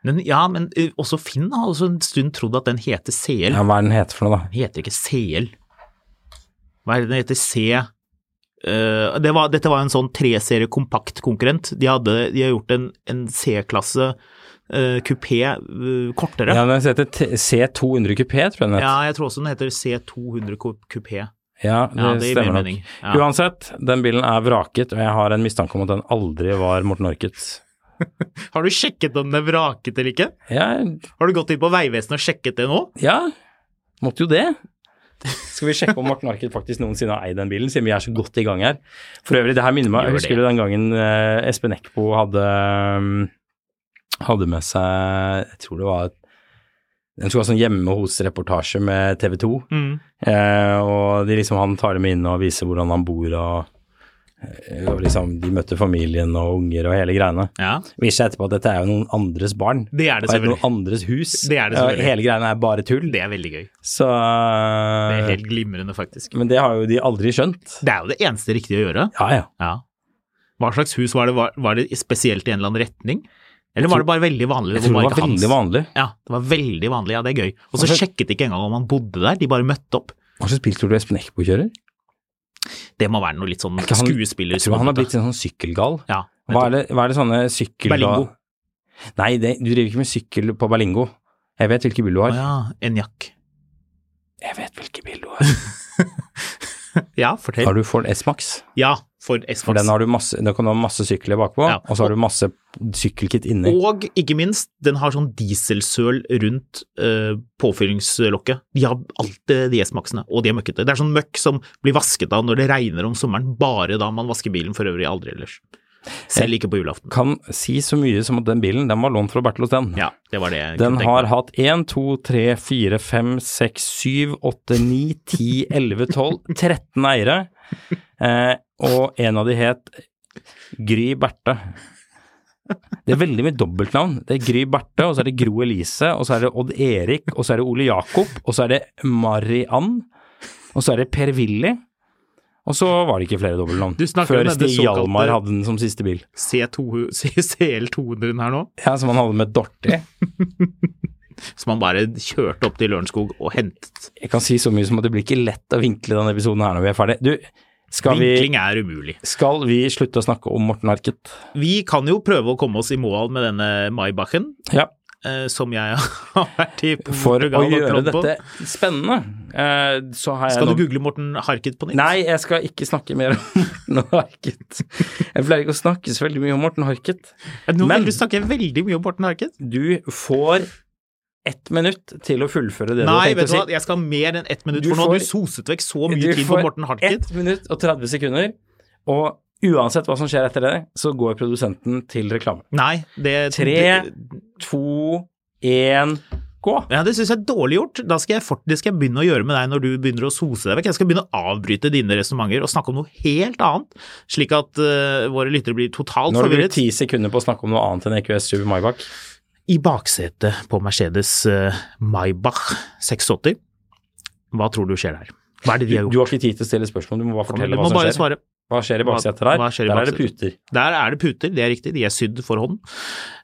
Speaker 3: Men, ja, men eh, også Finn har også en stund trodd at den heter CL.
Speaker 2: Ja, hva er den het for noe, da?
Speaker 3: Den heter ikke CL. Hva er det den heter? C... Eh, det var, dette var en sånn treserie kompakt konkurrent. De, hadde, de har gjort en, en C-klasse eh, kupé eh, kortere.
Speaker 2: Ja,
Speaker 3: Ja.
Speaker 2: den heter T- C200 kupé, tror jeg den het.
Speaker 3: jeg tror også den heter C200 ku- kupé.
Speaker 2: Ja, det,
Speaker 3: Ja, det gir
Speaker 2: stemmer
Speaker 3: mer
Speaker 2: nok.
Speaker 3: mening. Ja.
Speaker 2: Uansett, den bilen er vraket, og jeg har en mistanke om at den aldri var Morten Orkets.
Speaker 3: Har du sjekket om den er vraket eller ikke?
Speaker 2: Jeg
Speaker 3: Har du gått inn på Vegvesenet og sjekket det nå?
Speaker 2: Ja, måtte jo det. Skal vi sjekke om Morten Arket faktisk noensinne har eid den bilen, siden vi er så godt i gang her. For øvrig, det her minner meg
Speaker 3: Gjør
Speaker 2: Jeg husker
Speaker 3: det.
Speaker 2: du den gangen eh, Espen Eckbo hadde, mm, hadde med seg Jeg tror det var Den skulle ha sånn hjemme hos-reportasje med TV 2.
Speaker 3: Mm.
Speaker 2: Eh, og de liksom, han tar dem inn og viser hvordan han bor og, eh, og liksom, De møtte familien og unger og hele greiene.
Speaker 3: Ja.
Speaker 2: Viser seg etterpå at dette er jo noen andres barn.
Speaker 3: Det er det
Speaker 2: og et
Speaker 3: selvfølgelig.
Speaker 2: noen andres hus.
Speaker 3: Det er det
Speaker 2: Ja,
Speaker 3: selvfølgelig.
Speaker 2: Hele greiene er bare tull.
Speaker 3: Det er veldig gøy.
Speaker 2: Så eh,
Speaker 3: Det er helt glimrende, faktisk.
Speaker 2: Men det har jo de aldri skjønt.
Speaker 3: Det er jo det eneste riktige å gjøre.
Speaker 2: Ja, ja.
Speaker 3: Ja. Hva slags hus var det? Var, var det spesielt i en eller annen retning? Eller var det bare veldig vanlig?
Speaker 2: Jeg tror det
Speaker 3: bare
Speaker 2: var
Speaker 3: ikke hans?
Speaker 2: veldig vanlig.
Speaker 3: Ja, det var veldig vanlig. Ja, det er gøy. Og så
Speaker 2: Altså-
Speaker 3: sjekket de ikke engang om han bodde der, de bare møtte opp.
Speaker 2: Hva slags bil tror du Espen Eckbo kjører?
Speaker 3: Det må være noe litt sånn
Speaker 2: Er ikke han-
Speaker 3: skuespiller.
Speaker 2: Jeg tror han har blitt en sånn sykkelgal.
Speaker 3: ja,
Speaker 2: Hva er det, hva er det sånne sykkel...
Speaker 3: Berlingo.
Speaker 2: Nei, det, du driver ikke med sykkel på Berlingo. Jeg vet hvilken bil du
Speaker 3: Å
Speaker 2: har.
Speaker 3: ja, en jakk.
Speaker 2: Jeg vet hvilken bil du har.
Speaker 3: Ja, fortell.
Speaker 2: Har du Ford S-Max?
Speaker 3: Ja, for
Speaker 2: For den
Speaker 3: S-Max.
Speaker 2: har du masse, den kan du ha masse sykler bakpå,
Speaker 3: Ja.
Speaker 2: og så har du masse sykkelkit inni.
Speaker 3: Og ikke minst, den har sånn dieselsøl rundt eh, påfyllingslokket. De har alltid de S-maksene, og de er møkkete. Det er sånn møkk som blir vasket av når det regner om sommeren, bare da man vasker bilen, for øvrig aldri ellers. Selv ikke på julaften.
Speaker 2: Kan si så mye som at den bilen, den var lånt fra Bertil Osten.
Speaker 3: Ja, det var det jeg
Speaker 2: Den
Speaker 3: kunne tenke
Speaker 2: har
Speaker 3: meg.
Speaker 2: hatt 1, 2, 3, 4, 5, 6, 7, 8, 9, 10, 11, 12, 13 eiere. Eh, og en av de het Gry Berthe. Det er veldig mye dobbeltnavn. Det er Gry Berthe, og så er det Gro Elise, og så er det Odd Erik, og så er det Ole Jakob, og så er det Mariann, og så er det Per-Willy. Og så var det ikke flere dobbeltnavn.
Speaker 3: Du snakker om
Speaker 2: Før
Speaker 3: denne
Speaker 2: Stig
Speaker 3: såkalte-
Speaker 2: Hjalmar hadde den som siste bil.
Speaker 3: C2 CL200-en her nå,
Speaker 2: Ja, Som han hadde med Dorte.
Speaker 3: som han bare kjørte opp til Lørenskog og hentet.
Speaker 2: Jeg kan si så mye som at det blir ikke lett å vinkle denne episoden her når vi er ferdig. Du, skal vi,
Speaker 3: Vinkling er umulig.
Speaker 2: skal vi slutte å snakke om Morten Arket?
Speaker 3: Vi kan jo prøve å komme oss i mål med denne Maybachen,
Speaker 2: Ja.
Speaker 3: eh, som jeg har vært i
Speaker 2: For å
Speaker 3: Portugal og
Speaker 2: gjøre
Speaker 3: trådd på.
Speaker 2: dette spennende, eh, så har jeg
Speaker 3: Skal du
Speaker 2: nå-
Speaker 3: google Morten Harket på nytt?
Speaker 2: Nei, jeg skal ikke snakke mer om Morten Arket. Jeg pleier ikke å snakke så veldig mye om Morten Arket.
Speaker 3: Eh, Nå
Speaker 2: Men-
Speaker 3: vil du snakke veldig mye om Morten Harket.
Speaker 2: Du får ett minutt til å fullføre det
Speaker 3: Nei,
Speaker 2: du har
Speaker 3: vet du
Speaker 2: tenkt å si.
Speaker 3: hva, jeg skal ha mer enn ett minutt,
Speaker 2: Du
Speaker 3: for nå har
Speaker 2: får-
Speaker 3: du soset vekk så mye
Speaker 2: Du
Speaker 3: tid på
Speaker 2: får
Speaker 3: Morten Harket.
Speaker 2: 1 minutt og 30 sekunder, og uansett hva som skjer etter det, så går produsenten til reklame.
Speaker 3: Nei, det
Speaker 2: Tre, to, én, gå.
Speaker 3: Ja, Det syns jeg er dårlig gjort. Da skal jeg fort, det skal jeg begynne å gjøre med deg når du begynner å sose deg vekk. Jeg skal begynne å avbryte dine resonnementer og snakke om noe helt annet, slik at eh, våre lyttere blir totalt
Speaker 2: Nå har du brukt
Speaker 3: forvirret.
Speaker 2: ti sekunder på å snakke om noe annet enn E EQS Super Maybach.
Speaker 3: I baksetet på Mercedes eh, Maybach 680, hva tror du skjer der? Hva er det
Speaker 2: Du,
Speaker 3: de har
Speaker 2: du
Speaker 3: gjort?
Speaker 2: har ikke tid til å stille spørsmål, du må bare
Speaker 3: Du
Speaker 2: fortelle
Speaker 3: må
Speaker 2: hva som
Speaker 3: bare
Speaker 2: skjer.
Speaker 3: svare.
Speaker 2: Hva skjer i
Speaker 3: Hva-
Speaker 2: baksetet der?
Speaker 3: hva skjer i
Speaker 2: der er det
Speaker 3: baksetet?
Speaker 2: puter.
Speaker 3: Der er det puter, det er riktig, de er sydd for hånd.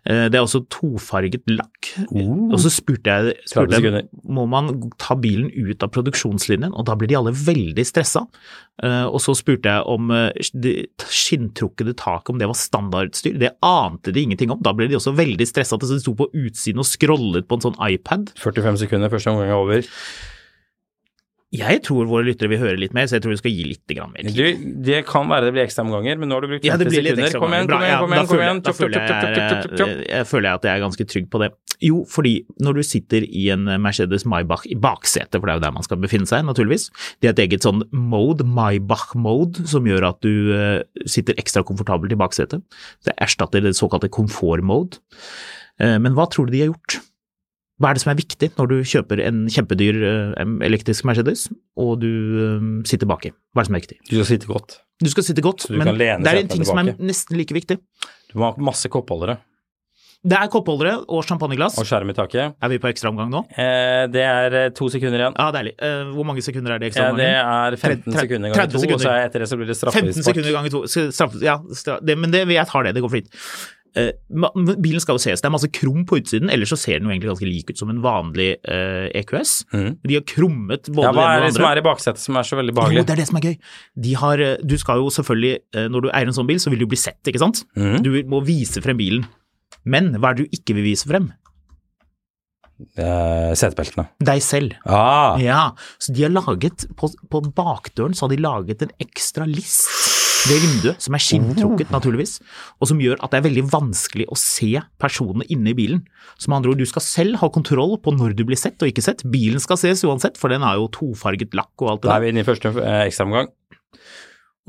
Speaker 3: Eh, Det er også tofarget lakk. Oh. Og så spurte jeg,
Speaker 2: 30
Speaker 3: spurte
Speaker 2: sekunder.
Speaker 3: jeg må man ta bilen ut av produksjonslinjen, og da blir de alle veldig stressa. Eh, Og så spurte jeg om eh, det skinntrukne taket, om det var standardutstyr. Det ante de ingenting om. Da ble de også veldig stressa at de sto på utsiden og scrollet på en sånn iPad.
Speaker 2: 45 sekunder, første omgang er over.
Speaker 3: Jeg tror våre lyttere vil høre litt mer, så jeg tror vi skal gi litt grann mer tid.
Speaker 2: Du, det kan være det blir ekstraomganger, men nå har du brukt
Speaker 3: Ja, det
Speaker 2: 50
Speaker 3: blir litt
Speaker 2: sekunder.
Speaker 3: ekstra
Speaker 2: Kom igjen,
Speaker 3: mange.
Speaker 2: kom
Speaker 3: Bra,
Speaker 2: igjen,
Speaker 3: ja,
Speaker 2: kom
Speaker 3: da
Speaker 2: igjen. kom igjen. Chop,
Speaker 3: føler jeg- da
Speaker 2: chop,
Speaker 3: føler
Speaker 2: chop, chop, chop, chop, chop.
Speaker 3: jeg- Jeg føler at jeg er ganske trygg på det. Jo, fordi når du sitter i en Mercedes Maybach i baksetet, for det er jo der man skal befinne seg, naturligvis, de har et eget sånn mode, Maybach-mode, som gjør at du eh, sitter ekstra komfortabelt i baksetet. Det erstatter det såkalte komfort-mode. Eh, Men hva tror du de har gjort? Hva er det som er viktig når du kjøper en kjempedyr eh, elektrisk Mercedes, og du eh, sitter baki? Hva er det som er viktig?
Speaker 2: Du skal sitte godt.
Speaker 3: Du skal sitte godt,
Speaker 2: du
Speaker 3: men
Speaker 2: kan lene
Speaker 3: det er en
Speaker 2: setet
Speaker 3: ting som er
Speaker 2: tilbake.
Speaker 3: nesten like viktig.
Speaker 2: Du må ha masse koppholdere.
Speaker 3: Det er koppholdere og champagneglass.
Speaker 2: Og skjerm i taket.
Speaker 3: Er vi på ekstraomgang nå?
Speaker 2: Eh, det er eh, to sekunder igjen.
Speaker 3: Ja, deilig. Eh, Hvor mange sekunder er det
Speaker 2: Eh,
Speaker 3: i
Speaker 2: det
Speaker 3: ekstraomgangen?
Speaker 2: er 15
Speaker 3: Tre- tre-
Speaker 2: sekunder ganger
Speaker 3: 30
Speaker 2: to, og så
Speaker 3: sekunder.
Speaker 2: er etter det så blir det
Speaker 3: 15 sekunder
Speaker 2: straffespark.
Speaker 3: ganger to. Skal- Straff, ja, stra- det, men det, jeg tar det. Det går fint. Eh, ma- men bilen skal jo ses. Det er masse krum på utsiden, ellers så ser den jo egentlig ganske lik ut som en vanlig eh, EQS.
Speaker 2: Mhm.
Speaker 3: De har krummet både
Speaker 2: Ja, hva
Speaker 3: det
Speaker 2: er det
Speaker 3: ene og det
Speaker 2: som
Speaker 3: andre.
Speaker 2: er i baksetet som er så veldig
Speaker 3: Jo,
Speaker 2: behagelig?
Speaker 3: det er det som er gøy. De har, eh, du skal jo selvfølgelig, eh, når du eier en sånn bil, så vil du bli sett, ikke sant?
Speaker 2: Mhm.
Speaker 3: Du må vise frem bilen. Men hva er det du ikke vil vise frem?
Speaker 2: Eh, Setebeltene.
Speaker 3: Deg selv.
Speaker 2: Ah,
Speaker 3: Ja, så de har laget, på, på bakdøren så har de laget en ekstra list ved vinduet, som er skinntrukket naturligvis, og som gjør at det er veldig vanskelig å se personene inne i bilen. Så med andre ord, du skal selv ha kontroll på når du blir sett og ikke sett. Bilen skal ses uansett, for den har jo tofarget lakk og alt det
Speaker 2: da
Speaker 3: der.
Speaker 2: er vi inne i første eh, ekstraomgang.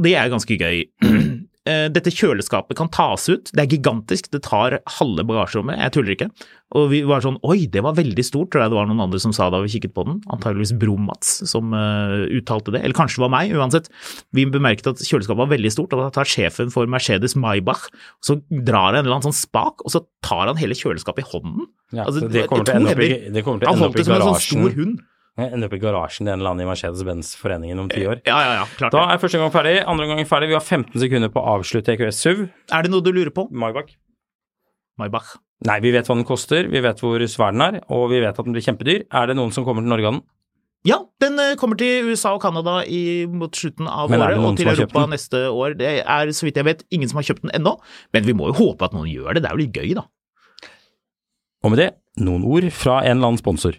Speaker 3: Det er ganske gøy. Eh, Dette kjøleskapet kan tas ut. Det er gigantisk, det tar halve bagasjerommet. Jeg tuller ikke. Og vi var sånn oi, det var veldig stort, tror jeg det var noen andre som sa da vi kikket på den. Antageligvis Brum-Mats som eh, uttalte det, eller kanskje det var meg, uansett. Vi bemerket at kjøleskapet var veldig stort, og da tar sjefen for Mercedes Maybach, så drar han en eller annen sånn spak, og så tar han hele kjøleskapet i hånden.
Speaker 2: Ja, så
Speaker 3: Altså,
Speaker 2: det kommer til å
Speaker 3: to
Speaker 2: ende opp i,
Speaker 3: hender.
Speaker 2: det kommer til å
Speaker 3: Han
Speaker 2: ende opp
Speaker 3: holdt
Speaker 2: i
Speaker 3: det som en sånn stor
Speaker 2: garasjen
Speaker 3: hund.
Speaker 2: Ende opp i garasjen til en eller annen i Mercedes-Benz-foreningen om ti år.
Speaker 3: Ja, ja, ja, klart
Speaker 2: Da
Speaker 3: det.
Speaker 2: er første gang ferdig, andre gang ferdig. Vi har 15 sekunder på å avslutte EQS SUV.
Speaker 3: Er det noe du lurer på?
Speaker 2: Maybach.
Speaker 3: Maybach.
Speaker 2: Nei, vi vet hva den koster, vi vet hvor svær den er, og vi vet at den blir kjempedyr. Er det noen som kommer til Norge av den?
Speaker 3: Ja, den eh, kommer til USA og Canada i, mot slutten av
Speaker 2: Men er det
Speaker 3: året,
Speaker 2: noen
Speaker 3: og til
Speaker 2: som har kjøpt
Speaker 3: Europa
Speaker 2: den?
Speaker 3: neste år. Det er, så vidt jeg vet, ingen som har kjøpt den ennå, men vi må jo håpe at noen gjør det. Det er jo litt gøy, da.
Speaker 2: Og med det, noen ord fra en eller annen sponsor.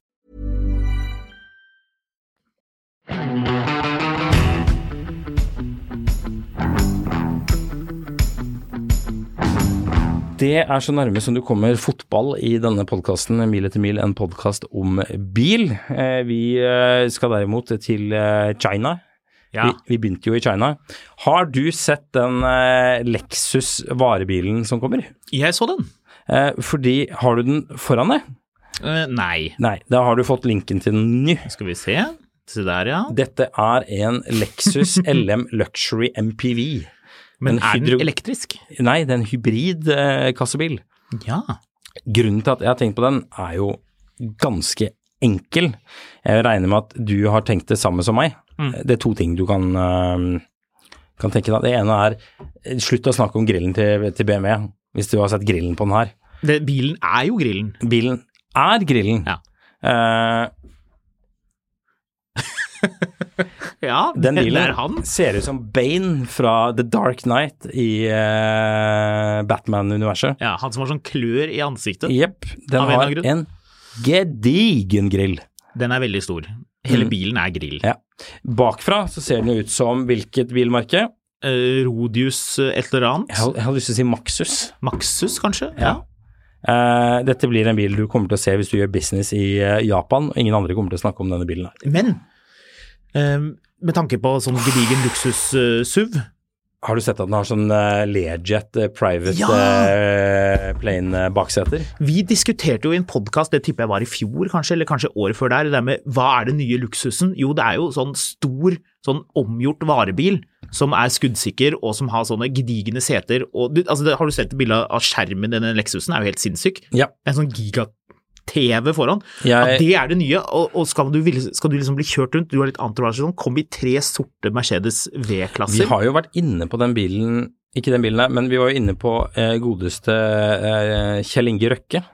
Speaker 2: Det er så nærme som du kommer fotball i denne podkasten, Mil etter mil, en podkast om bil. Eh, Vi eh, skal derimot til eh, China.
Speaker 3: Ja.
Speaker 2: Vi, vi begynte jo i China. Har du sett den eh, Lexus varebilen som kommer?
Speaker 3: Jeg så den.
Speaker 2: Eh, fordi Har du den foran deg?
Speaker 3: Eh, nei.
Speaker 2: Nei, da har du fått linken til den ny.
Speaker 3: Skal vi se. Se der, ja.
Speaker 2: Dette er en Lexus LM Luxury MPV.
Speaker 3: Men
Speaker 2: en
Speaker 3: er
Speaker 2: hydro-
Speaker 3: den elektrisk?
Speaker 2: Nei, det er en hybrid eh, kassebil.
Speaker 3: Ja.
Speaker 2: Grunnen til at jeg har tenkt på den, er jo ganske enkel. Jeg regner med at du har tenkt det samme som meg.
Speaker 3: Mm.
Speaker 2: Det er to ting du kan, eh, kan tenke deg. Det ene er eh, slutt å snakke om grillen til, til BMW, hvis du har sett grillen på den her.
Speaker 3: Det, bilen er jo grillen.
Speaker 2: Bilen er grillen.
Speaker 3: Ja.
Speaker 2: Eh,
Speaker 3: Ja,
Speaker 2: den
Speaker 3: det-
Speaker 2: bilen
Speaker 3: det er han.
Speaker 2: ser ut som Bane fra The Dark Knight i eh, Batman-universet.
Speaker 3: Ja, han som har sånn klør i ansiktet.
Speaker 2: Jepp. Den
Speaker 3: Av en eller
Speaker 2: har
Speaker 3: annen grunn.
Speaker 2: en gedigen grill.
Speaker 3: Den er veldig stor. Hele bilen er grill.
Speaker 2: Mm. Ja. Bakfra så ser den jo ut som hvilket bilmerke?
Speaker 3: Eh, Rodius eh, et eller
Speaker 2: Jeg
Speaker 3: annet.
Speaker 2: hadde, jeg hadde lyst til å si Maxus.
Speaker 3: Maxus, kanskje?
Speaker 2: Ja. Eh, dette blir en bil du kommer til å se hvis du gjør business i eh, Japan, og ingen andre kommer til å snakke om denne bilen her.
Speaker 3: Men ehm, med tanke på sånn gedigen luksus-SUV
Speaker 2: Har du sett at den har sånn eh, Learjet eh, private
Speaker 3: Ja!
Speaker 2: eh, plane eh, bakseter?
Speaker 3: Vi diskuterte jo i en podkast, det tipper jeg var i fjor kanskje, eller kanskje året før der, det der med hva er den nye luksusen? Jo, det er jo sånn stor, sånn omgjort varebil som er skuddsikker og som har sånne gedigne seter. Og, du, altså, det, har du sett bildet av skjermen i den Lexusen? er jo helt sinnssyk.
Speaker 2: Ja.
Speaker 3: En sånn giga-TV foran.
Speaker 2: Jeg-
Speaker 3: Ja, det er det nye, og, og skal, du, ville- skal du liksom bli kjørt rundt, du har litt antivarasjon, sånn, kom i tre sorte Mercedes
Speaker 2: Vi
Speaker 3: V-klasser.
Speaker 2: har jo vært inne på den bilen, ikke den bilen der, men vi var jo inne på eh, godeste eh, Kjell Inge Røkke.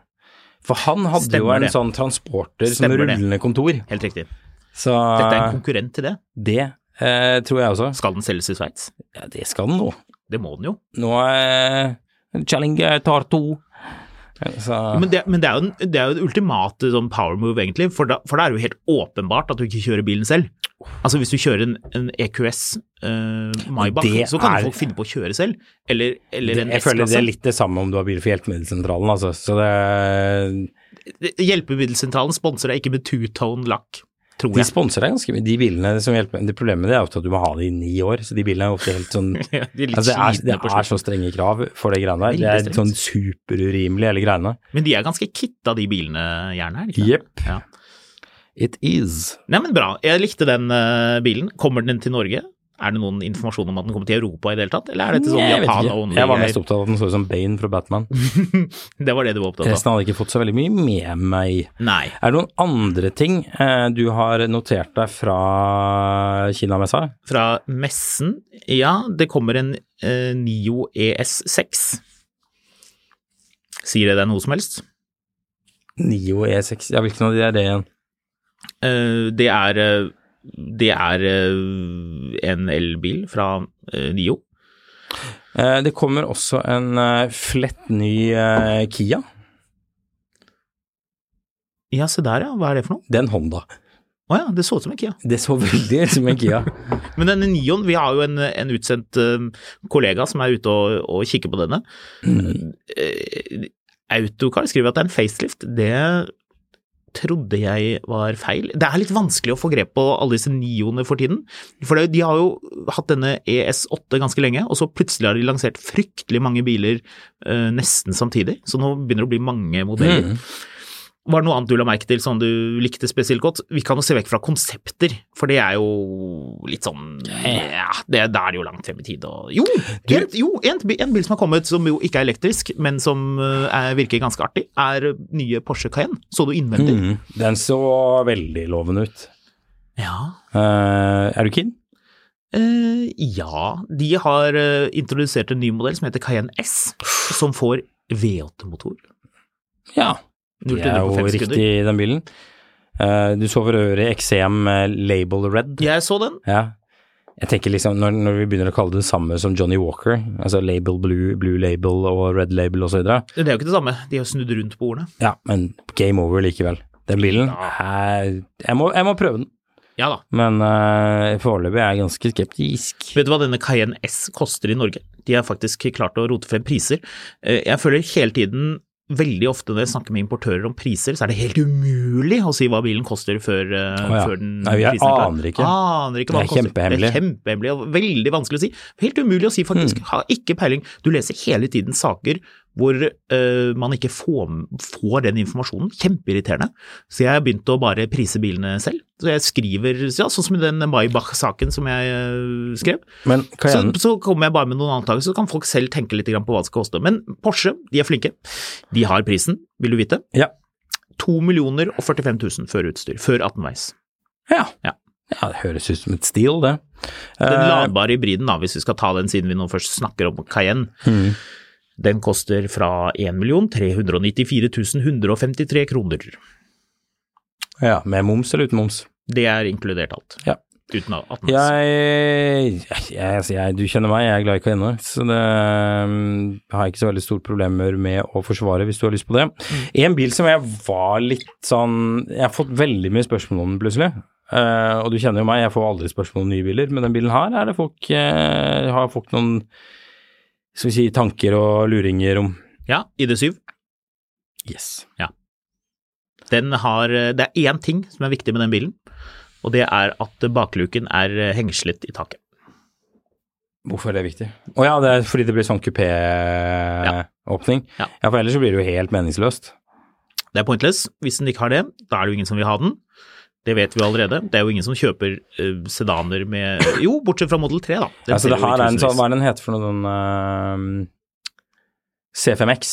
Speaker 2: For han hadde jo
Speaker 3: Stemmer
Speaker 2: en
Speaker 3: det.
Speaker 2: sånn transporter
Speaker 3: Stemmer
Speaker 2: som
Speaker 3: det.
Speaker 2: rullende kontor.
Speaker 3: Helt riktig.
Speaker 2: Så
Speaker 3: Dette
Speaker 2: Eh.
Speaker 3: er en konkurrent til det.
Speaker 2: det eh, tror jeg også.
Speaker 3: Skal den selges i Sveits?
Speaker 2: Ja, det skal den nå.
Speaker 3: Det må den jo.
Speaker 2: Nå eh, Kjell Inge tar to. Så,
Speaker 3: Men det, men det er jo den- det er jo det ultimate sånn power move, egentlig. For da, for da er det jo helt åpenbart at du ikke kjører bilen selv. Altså Hvis du kjører en, en E EQS uh, Maybach,
Speaker 2: Det
Speaker 3: så kan
Speaker 2: er-
Speaker 3: jo folk finne på å kjøre selv. Eller, eller en
Speaker 2: jeg føler det
Speaker 3: S-klasse.
Speaker 2: er litt det samme om du har bil for Hjelpemiddelsentralen, altså. Så det
Speaker 3: Hjelpemiddelsentralen sponser deg ikke med two-tone lakk, tror
Speaker 2: De
Speaker 3: jeg.
Speaker 2: sponser deg ganske mye. De bilene som hjelper Det problemet med det er ofte at du må ha det i ni år, så de bilene er ofte helt sånn
Speaker 3: Ja, de er litt
Speaker 2: altså, det,
Speaker 3: slitne
Speaker 2: er,
Speaker 3: på
Speaker 2: det er så strenge krav for de greiene der. Det
Speaker 3: Veldig
Speaker 2: er sånn superurimelig, hele greiene.
Speaker 3: Men de er ganske kitta, de bilene, gjerne. er de ikke det?
Speaker 2: Jepp.
Speaker 3: Ja.
Speaker 2: It is.
Speaker 3: Nei, men bra. Jeg likte den eh, bilen. Kommer den til Norge? Er det noen informasjon om at den kommer til Europa i det hele tatt, eller er dette sånn
Speaker 2: jeg, vet
Speaker 3: Japan
Speaker 2: ikke.
Speaker 3: only?
Speaker 2: jeg var mest opptatt av at den så ut som Bane fra Batman.
Speaker 3: Det var det du var opptatt av?
Speaker 2: Resten hadde ikke fått så veldig mye med meg.
Speaker 3: Nei.
Speaker 2: Er det noen andre ting eh, du har notert deg fra kinamessa?
Speaker 3: Fra messen? Ja, det kommer en eh, Nio ES6. Sier det deg noe som helst?
Speaker 2: Nio E6 Ja, hvilken av de er det igjen?
Speaker 3: Eh, det er eh, det er eh, en elbil fra eh, Nio.
Speaker 2: Eh, det kommer også en eh, flett ny eh, Kia.
Speaker 3: Ja, se der ja. Hva er det for noe?
Speaker 2: Det er en Honda.
Speaker 3: Å ja, det så ut som en Kia.
Speaker 2: Det så veldig ut som en Kia.
Speaker 3: Men denne Nion, vi har jo en, en utsendt eh, kollega som er ute og, og kikker på denne. Eh, Autocar skriver at det er en facelift. Det trodde jeg var feil. Det er litt vanskelig å få grep på alle disse Nioene for tiden. For det, de har jo hatt denne ES8 ganske lenge, og så plutselig har de lansert fryktelig mange biler eh, nesten samtidig. Så nå begynner det å bli mange modeller. Var det noe annet du la merke til som du likte spesielt godt? Vi kan jo se vekk fra konsepter, for det er jo litt sånn ja, det, Da er det jo langt frem i tid og Jo! en, jo en, bi- en bil som har kommet som jo ikke er elektrisk, men som eh, er, virker ganske artig, er nye Porsche Cayenne. Så du innvendig?
Speaker 2: Mm. Den så veldig lovende ut.
Speaker 3: Ja.
Speaker 2: Eh, er du keen?
Speaker 3: Eh, ja. De har eh, introdusert en ny modell som heter Cayenne S, som får V8-motor.
Speaker 2: Ja.
Speaker 3: Null
Speaker 2: Det
Speaker 3: til
Speaker 2: er
Speaker 3: hundre på
Speaker 2: jo
Speaker 3: fem
Speaker 2: riktig,
Speaker 3: sekunder.
Speaker 2: den bilen. Eh, du så for øvrig XCM eh, Label Red.
Speaker 3: Jeg så den.
Speaker 2: Ja. Jeg tenker liksom, når, når vi begynner å kalle det det samme som Johnny Walker, altså Label Blue, Blue Label og Red Label osv.,
Speaker 3: Det er jo ikke det samme, de har snudd rundt på ordene.
Speaker 2: ja, men game over likevel. Den bilen er Jeg må, jeg må prøve den,
Speaker 3: Ja da.
Speaker 2: men eh, foreløpig er jeg ganske skeptisk.
Speaker 3: Vet du hva denne Cayenne S koster i Norge? De har faktisk klart å rote frem priser. Eh, Jeg føler hele tiden, veldig ofte når jeg snakker med importører om priser, så er det helt umulig å si hva bilen koster før, eh,
Speaker 2: Å ja.
Speaker 3: før den
Speaker 2: Nei, vi er-
Speaker 3: prisen er klar.
Speaker 2: aner ikke.
Speaker 3: Aner ikke
Speaker 2: Det er
Speaker 3: hva den koster.
Speaker 2: kjempehemmelig.
Speaker 3: Mm, Det er kjempehemmelig og veldig vanskelig å si. Helt umulig å si faktisk. Har ikke peiling. Du leser hele tiden saker hvor eh, man ikke får, får den informasjonen. Kjempeirriterende. Så jeg har begynt å bare prise bilene selv. Så jeg skriver ja, sånn som i den Maybach-saken som jeg eh, skrev.
Speaker 2: Men
Speaker 3: Så,
Speaker 2: Cayenne
Speaker 3: så kommer jeg bare med noen antakelser, så kan folk selv tenke litt grann på hva det skal koste. Men Porsche, de er flinke. De har prisen, vil du vite.
Speaker 2: Ja.
Speaker 3: 2 millioner og 45 000 før utstyr, før 18-veis.
Speaker 2: ja.
Speaker 3: Ja.
Speaker 2: ja, det høres ut som et stil, det.
Speaker 3: Den
Speaker 2: Eh,
Speaker 3: ladbare hybriden, da, hvis vi skal ta den siden vi nå først snakker om Cayenne,
Speaker 2: Mm.
Speaker 3: den koster fra 1 394 153 kroner.
Speaker 2: ja, med moms eller uten moms?
Speaker 3: Det er inkludert alt.
Speaker 2: Ja.
Speaker 3: Uten 18-veis.
Speaker 2: Jeg, jeg, altså, jeg, du kjenner meg, jeg er glad i Kajenner, så det mm, har jeg ikke så veldig store problemer med å forsvare hvis du har lyst på det.
Speaker 3: Mm.
Speaker 2: En bil som jeg var litt sånn Jeg har fått veldig mye spørsmål om den plutselig. Eh, og du kjenner jo meg, jeg får aldri spørsmål om nye biler, men den bilen her er det folk eh, har folk noen skal vi si, tanker og luringer om.
Speaker 3: Ja, ID7.
Speaker 2: Yes.
Speaker 3: Den har, eh, det er én ting som er viktig med den bilen, og det er at bakluken er eh, hengslet i taket.
Speaker 2: Hvorfor er det viktig? Å ja, det er fordi det blir sånn kupéåpning.
Speaker 3: Ja.
Speaker 2: ja, for ellers så blir det jo helt meningsløst.
Speaker 3: Det er pointless. Hvis den ikke har det, da er det jo ingen som vil ha den. Det vet vi jo allerede. Det er jo ingen som kjøper eh, sedaner med Jo, bortsett fra Model 3, da. Den
Speaker 2: Altså, det
Speaker 3: selger jo i
Speaker 2: her er en sånn,
Speaker 3: tusenvis.
Speaker 2: hva er den heter for noe, den ehm, C5X,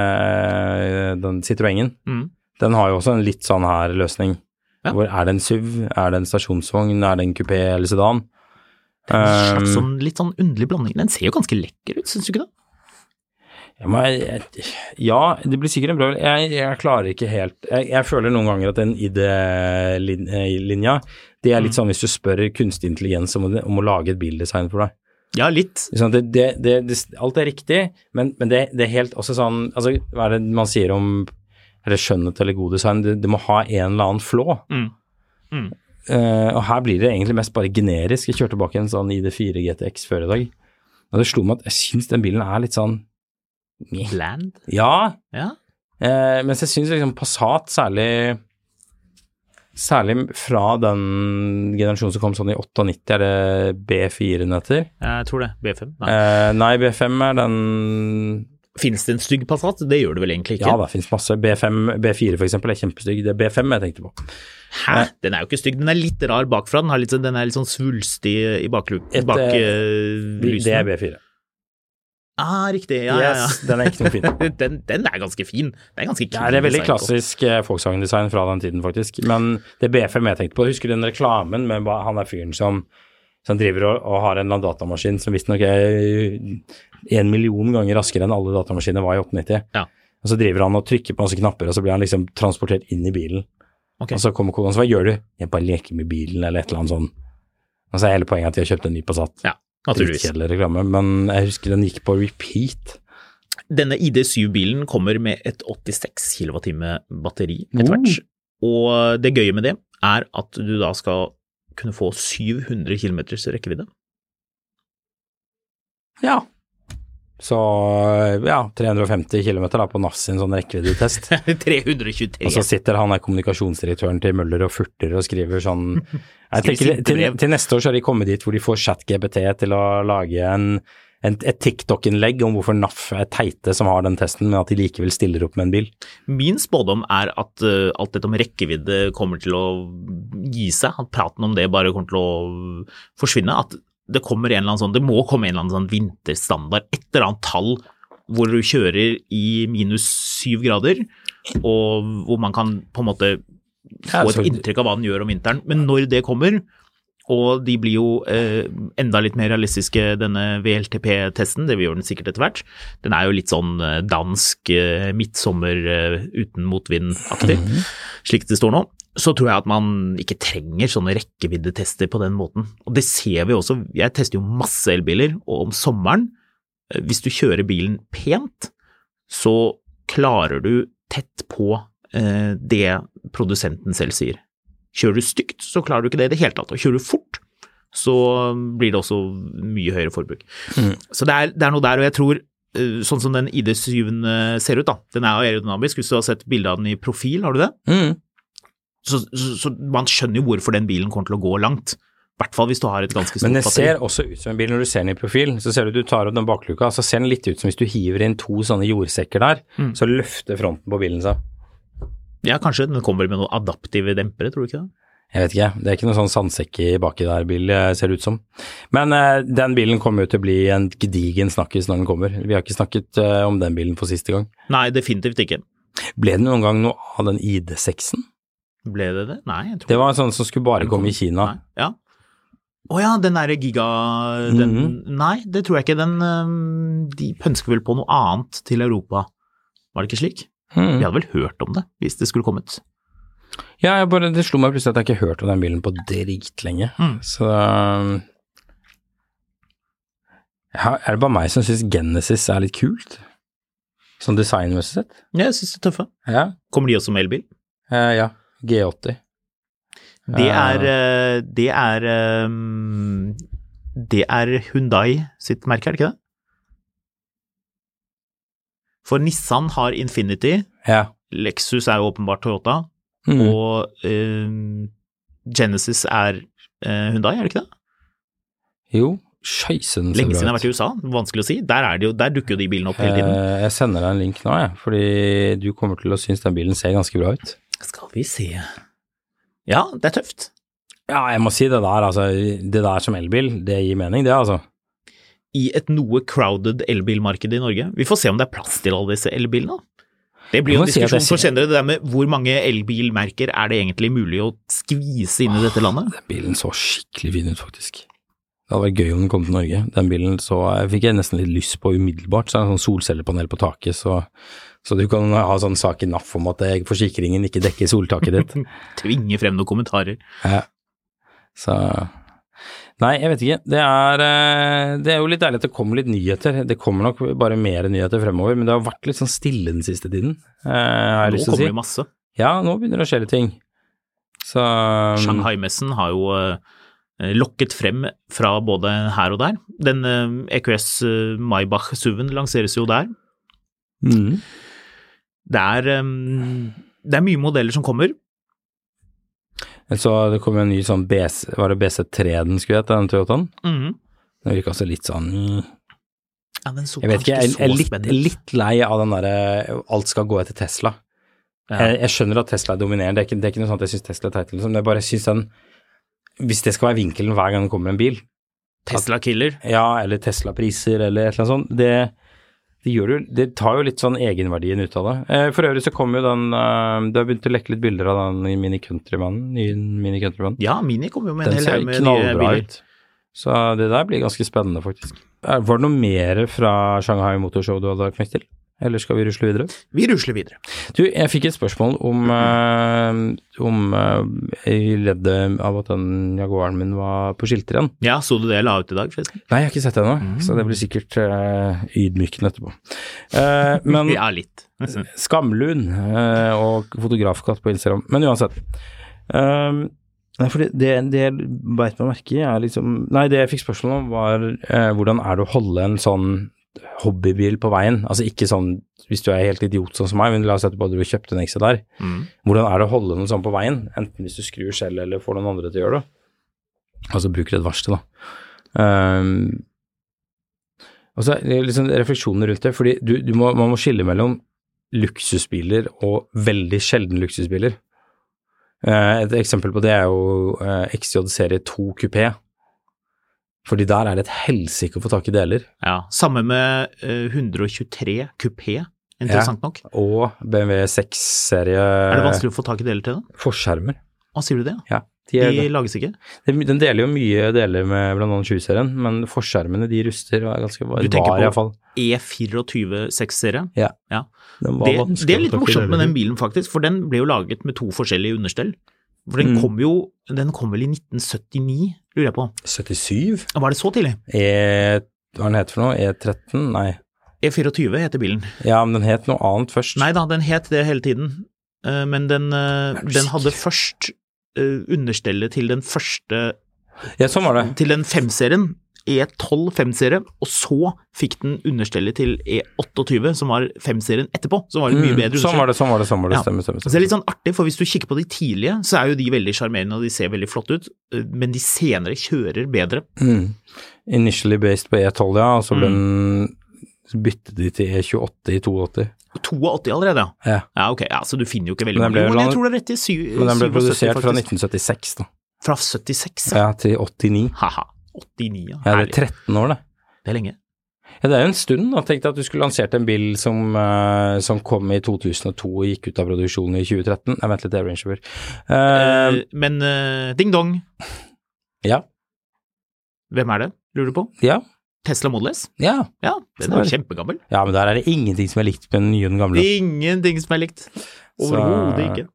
Speaker 2: eh, den Citroengen,
Speaker 3: Mm.
Speaker 2: den har jo også en litt sånn her løsning.
Speaker 3: Ja.
Speaker 2: Hvor er det en SUV, er det en stasjonsvogn, er det en kupé eller sedan?
Speaker 3: En
Speaker 2: Ehm,
Speaker 3: slags sånn litt sånn underlig blanding. Den ser jo ganske lekker ut, syns du ikke det?
Speaker 2: ja, men jeg- ja, det blir sikkert en bra jeg, jeg klarer ikke helt jeg, jeg føler noen ganger at den eh, ID-linja, det er litt sånn hvis du spør kunstig intelligens om, å- om å lage et bildesign for deg.
Speaker 3: Ja, litt.
Speaker 2: Ikke sant? Det, det, det, det, alt er riktig, men, men det, det er helt også sånn altså, Hva er det man sier om eller skjønnhet eller god design? Det, det må ha en eller annen flå.
Speaker 3: Mm. Mm.
Speaker 2: Eh, og her blir det egentlig mest bare generisk. Jeg kjørte bak en sånn ID4 GTX før i dag, og det slo meg at jeg syns den bilen er litt sånn meh.
Speaker 3: Land?
Speaker 2: Ja,
Speaker 3: Ja.
Speaker 2: Eh, mens jeg syns liksom Passat særlig Særlig fra den generasjonen som kom sånn i 98, er det B4 den heter?
Speaker 3: Jeg tror det. B5. Nei.
Speaker 2: Eh, nei, B5 er den
Speaker 3: Fins Eh, det en stygg Passat? Det gjør det vel egentlig ikke?
Speaker 2: Ja, det fins masse. B5, B4 for eksempel er kjempestygg. Det er B5 jeg tenkte på.
Speaker 3: Hæ?
Speaker 2: Eh.
Speaker 3: Den er jo ikke stygg. Den er litt rar bakfra. Den, har litt, sånn- den er litt sånn svulstig i
Speaker 2: Et,
Speaker 3: bakluken. Bak,
Speaker 2: eh,
Speaker 3: eh, lysen.
Speaker 2: Det er B4.
Speaker 3: Ah, riktig. Ja, ja, ja.
Speaker 2: Yes, den er ikke noe fin.
Speaker 3: Den, den er ganske fin. Den er ganske kul.
Speaker 2: Det er veldig
Speaker 3: design på.
Speaker 2: klassisk eh, Volkswagen-design fra den tiden, faktisk. Men det B5 jeg tenkte på, husker du den reklamen med hva- han der fyren som, som driver og, og har en eller annen datamaskin som visstnok er en million ganger raskere enn alle datamaskiner var i 98?
Speaker 3: Ja.
Speaker 2: Og så driver han og trykker på masse knapper, og så blir han liksom transportert inn i bilen. Og
Speaker 3: Ok.
Speaker 2: så kommer kona og sier hva gjør du? Jeg bare leker med bilen, eller et eller annet sånn. Og så er hele poenget at de har kjøpt en ny Passat.
Speaker 3: Ja, naturligvis.
Speaker 2: Dritkjedelig reklame, men jeg husker den gikk på repeat.
Speaker 3: Denne ID7-bilen kommer med et 86 kWh batteri etter hvert. Og det gøye med det er at du da skal kunne få 700 km rekkevidde.
Speaker 2: Ja. Så eh, ja, 350 km da, på NAF sin sånn rekkeviddetest.
Speaker 3: 323.
Speaker 2: Og så sitter han der kommunikasjonsdirektøren til Møller og furter og skriver sånn Jeg
Speaker 3: Skriver
Speaker 2: tenker
Speaker 3: sinte
Speaker 2: til,
Speaker 3: brev.
Speaker 2: til neste år så har de kommet dit hvor de får ChatGPT til å lage en, en, et TikTok-innlegg om hvorfor NAF er teite som har den testen, men at de likevel stiller opp med en bil.
Speaker 3: Min spådom er at eh, alt dette om rekkevidde kommer til å gi seg, at praten om det bare kommer til å forsvinne. At det kommer en eller annen sånn, det må komme en eller annen sånn vinterstandard, et eller annet tall hvor du kjører i minus syv grader, og hvor man kan på en måte
Speaker 2: Ja,
Speaker 3: få et
Speaker 2: så-
Speaker 3: inntrykk av hva den gjør om vinteren. Men når det kommer, og de blir jo eh, enda litt mer realistiske, denne VLTP-testen. Det gjør den sikkert etter hvert. Den er jo litt sånn eh, dansk eh, midtsommer eh, uten motvind-aktig, slik det står nå. Så tror jeg at man ikke trenger sånne rekkeviddetester på den måten. Og det ser vi også. Jeg tester jo masse elbiler, og om sommeren, eh, hvis du kjører bilen pent, så klarer du tett på eh, det produsenten selv sier. Kjører du stygt, så klarer du ikke det i det hele tatt. Og kjører du fort, så blir det også mye høyere forbruk.
Speaker 2: Mm.
Speaker 3: Så det er, det er noe der, og jeg tror eh, Sånn som den ID7 ser ut, da. Den er jo aerodynamisk. Hvis du har sett bilde av den i profil, har du det?
Speaker 2: Mm.
Speaker 3: Så, så, så man skjønner jo hvorfor den bilen kommer til å gå langt. I hvert fall hvis du har et ganske stort
Speaker 2: Men det
Speaker 3: batteri.
Speaker 2: ser også ut som en bil når du ser den i profil. Så ser du du tar opp den bakluka, så ser den litt ut som hvis du hiver inn to sånne jordsekker der,
Speaker 3: Mm.
Speaker 2: så løfter fronten på bilen seg.
Speaker 3: Ja, kanskje den kommer med noen adaptive dempere, tror du ikke det?
Speaker 2: Jeg vet ikke, det er ikke noen sånn sandsekk i baki der bil eh, ser det ut som. Men eh, den bilen kommer jo til å bli en gedigen snakkis når den kommer. Vi har ikke snakket eh, om den bilen for siste gang.
Speaker 3: Nei, definitivt ikke.
Speaker 2: Ble det noen gang noe av den ID6-en?
Speaker 3: Ble det det? Nei, jeg tror
Speaker 2: Det var en sånn som skulle bare komme i Kina.
Speaker 3: Nei, ja. Å ja, den derre giga... Den, Nei, det tror jeg ikke. Den øhm, De pønsker vel på noe annet til Europa. Var det ikke slik? Vi
Speaker 2: Mm.
Speaker 3: hadde vel hørt om det, hvis det skulle kommet.
Speaker 2: Ja, jeg bare, det slo meg plutselig at jeg ikke hørte om den bilen på dritlenge.
Speaker 3: Mm.
Speaker 2: Så um, ja, Er det bare meg som syns Genesis er litt kult? Sånn designmessig sett?
Speaker 3: Ja, jeg syns det er tøffe.
Speaker 2: Ja.
Speaker 3: Kommer de også med elbil?
Speaker 2: Eh, ja. Eh, G80.
Speaker 3: Det er øh, Det er øhm, Det er Hundai sitt merke, er det ikke det? For Nissan har Infinity,
Speaker 2: Ja.
Speaker 3: Lexus er jo åpenbart Toyota,
Speaker 2: Mm.
Speaker 3: eh, og øhm, Genesis er uh, Hundai, er det ikke det?
Speaker 2: Jo, skøysen
Speaker 3: Lenge siden jeg har vært i USA, vanskelig å si. Der, er det jo, der dukker jo de bilene opp hele tiden.
Speaker 2: Eh, Jeg sender deg en link nå, jeg, fordi du kommer til å synes den bilen ser ganske bra ut.
Speaker 3: Skal vi se Ja, det er tøft.
Speaker 2: Ja, jeg må si det der, altså. Det der som elbil, det gir mening, det, altså.
Speaker 3: I et noe crowded elbilmarked i Norge. Vi får se om det er plass til alle disse elbilene. da. Det blir
Speaker 2: Jeg
Speaker 3: jo
Speaker 2: må
Speaker 3: en
Speaker 2: si at jeg
Speaker 3: diskusjon for
Speaker 2: ser-
Speaker 3: senere, det der med hvor mange elbilmerker er det egentlig mulig å skvise inn i dette landet?
Speaker 2: Den bilen så skikkelig fin ut, faktisk. Det hadde vært gøy om den kom til Norge. Den bilen så jeg fikk jeg nesten litt lyst på umiddelbart. Så er det en sånn solcellepanel på taket, så, så du kan ha sånn sak i NAF om at eh, forsikringen ikke dekker soltaket ditt.
Speaker 3: Tvinge frem noen kommentarer.
Speaker 2: Ja. Så Nei, jeg vet ikke. Det er, eh, det er jo litt deilig at det kommer litt nyheter. Det kommer nok bare mer nyheter fremover, men det har vært litt sånn stille den siste tiden. eh, har jeg
Speaker 3: Nå
Speaker 2: lyst til å
Speaker 3: kommer det
Speaker 2: si.
Speaker 3: masse.
Speaker 2: Ja, nå begynner det å skje litt ting. Så um,
Speaker 3: Shanghai-messen har jo eh, lokket frem fra både her og der. Den eh, EQS eh, Maybach SUV-en lanseres jo der.
Speaker 2: mm.
Speaker 3: Det er, eh, det er mye modeller som kommer.
Speaker 2: Så det kom en ny sånn BC, var det BC3 den skulle hete, den Toyotaen?
Speaker 3: Mhm.
Speaker 2: Den virka også litt sånn mm.
Speaker 3: Ja, den så
Speaker 2: Jeg vet ikke,
Speaker 3: kanskje
Speaker 2: jeg jeg er
Speaker 3: så
Speaker 2: litt,
Speaker 3: spennende ut.
Speaker 2: litt lei av den derre alt skal gå etter Tesla. Jeg, jeg skjønner at Tesla er dominerende, det er ikke, det er ikke noe sånt at jeg syns Tesla er teit, liksom. men jeg bare syns den Hvis det skal være vinkelen hver gang det kommer en bil,
Speaker 3: Tesla Killer.
Speaker 2: ja, eller Tesla-priser eller et eller annet sånt, det, det, gjør jo, det tar jo litt sånn egenverdien ut av det. Eh, For øvrig så kom jo den eh, Det har begynt å lekke litt bilder av den i Mini Countrymanen, nye Mini Countryman.
Speaker 3: Ja, Mini kommer jo med en
Speaker 2: Den
Speaker 3: hel
Speaker 2: ser
Speaker 3: haug med nye
Speaker 2: knallbra
Speaker 3: biler.
Speaker 2: ut. Så det der blir ganske spennende, faktisk. Eh, Var det noe mer fra Shanghai Motorshow du hadde lagt merke til? Eller skal vi rusle videre?
Speaker 3: Vi rusler videre.
Speaker 2: Du, jeg fikk et spørsmål om, eh, om eh, jeg redde av at den Jaguaren min var på skilter igjen.
Speaker 3: Ja, så du det jeg la ut i dag, forresten?
Speaker 2: Nei, jeg har ikke sett det ennå,
Speaker 3: Mm.
Speaker 2: så det blir sikkert eh, ydmykende etterpå. Eh, men
Speaker 3: Ja, litt.
Speaker 2: Skamlun eh, og fotografkatt på Instagram. Men uansett. Um, nei, fordi det, det jeg beit meg merke i, er liksom Nei, det jeg fikk spørsmål om, var eh, hvordan er det å holde en sånn hobbybil på veien? Altså ikke sånn hvis du er helt idiot sånn som meg, men la oss si at du bare kjøpte en ekstra der.
Speaker 3: Mm.
Speaker 2: Hvordan er det å holde noe sånn på veien, enten hvis du skrur selv eller får noen andre til å gjøre det? Altså bruker et varsel, da. Ehm, og så er det liksom refleksjoner rundt det, fordi du, du må, man må skille mellom luksusbiler og veldig sjelden luksusbiler. Eh, et eksempel på det er jo eh, XJ serie 2 kupé, fordi der er det et helsike å få tak i deler,
Speaker 3: Ja. Samme med eh, 123 kupé, interessant nok.
Speaker 2: og BMW 6 serie
Speaker 3: Er det vanskelig å få tak i deler til den?
Speaker 2: forskjermer.
Speaker 3: Hva sier du det?
Speaker 2: Ja,
Speaker 3: De lages ikke?
Speaker 2: Det- Den deler jo mye deler med blant annet 20-serien, men forskjermene de ruster og er ganske var,
Speaker 3: Du tenker
Speaker 2: var
Speaker 3: på-
Speaker 2: i hvert fall.
Speaker 3: E E24 6-serie.
Speaker 2: Ja.
Speaker 3: Ja.
Speaker 2: Den var
Speaker 3: Det,
Speaker 2: vanskelig
Speaker 3: det er
Speaker 2: å
Speaker 3: litt
Speaker 2: ta til
Speaker 3: morsomt med
Speaker 2: deler.
Speaker 3: den bilen, faktisk, for den ble jo laget med to forskjellige understell. For den
Speaker 2: Mm.
Speaker 3: kom jo Den kom vel i 1979, lurer jeg på.
Speaker 2: 77?
Speaker 3: Var det så tidlig?
Speaker 2: E... Hva er den het for noe? E13? Nei.
Speaker 3: E E24 heter bilen.
Speaker 2: Ja, men den het noe annet først.
Speaker 3: Nei da, den het det hele tiden, Eh, men den, eh,
Speaker 2: Er du
Speaker 3: den hadde
Speaker 2: sikker?
Speaker 3: først eh, understellet til den første
Speaker 2: Ja, sånn var det.
Speaker 3: Til den 5-serien. E12 5-serie, og så fikk den understellet til E E28, som var 5-serien etterpå. Som var et mye
Speaker 2: Mm,
Speaker 3: bedre
Speaker 2: sånn
Speaker 3: understell.
Speaker 2: var det, sånn var det, sånn var det.
Speaker 3: Ja.
Speaker 2: Stemmer, stemmer.
Speaker 3: Så det er
Speaker 2: stemmer.
Speaker 3: litt sånn artig, for hvis du kikker på de tidlige, så er jo de veldig sjarmerende og de ser veldig flotte ut, eh, men de senere kjører bedre.
Speaker 2: Mm. Initially based på E12, ja, og så ble
Speaker 3: Mm.
Speaker 2: den så byttet de til E28 i 82.
Speaker 3: 82 allerede, ja.
Speaker 2: Ja.
Speaker 3: Ja, ok, ja, så du finner jo ikke veldig
Speaker 2: Men den
Speaker 3: mange.
Speaker 2: ble
Speaker 3: Jo,
Speaker 2: vel-
Speaker 3: jeg tror det er rett i syv- 77,
Speaker 2: Men den ble produsert fra
Speaker 3: faktisk.
Speaker 2: 1976 da,
Speaker 3: Fra 76, ja.
Speaker 2: ja, til 89.
Speaker 3: Haha. 89, ja.
Speaker 2: Ja, det
Speaker 3: Herlig.
Speaker 2: er 13 år det.
Speaker 3: Det er lenge.
Speaker 2: Ja, det er jo en stund. da. Tenk deg at du skulle lansert en bil som, eh, som kom i 2002 og gikk ut av produksjonen i 2013. Nei, vent litt, det er Range Rover. Eh,
Speaker 3: Eh, men eh, ding dong,
Speaker 2: ja,
Speaker 3: hvem er det, lurer du på?
Speaker 2: ja,
Speaker 3: Tesla Model S?
Speaker 2: ja.
Speaker 3: Ja, den er jo kjempegammel.
Speaker 2: Ja, men der er det ingenting som er likt med den nye og den gamle.
Speaker 3: Ingenting som er likt. Overhodet
Speaker 2: Så-
Speaker 3: ikke.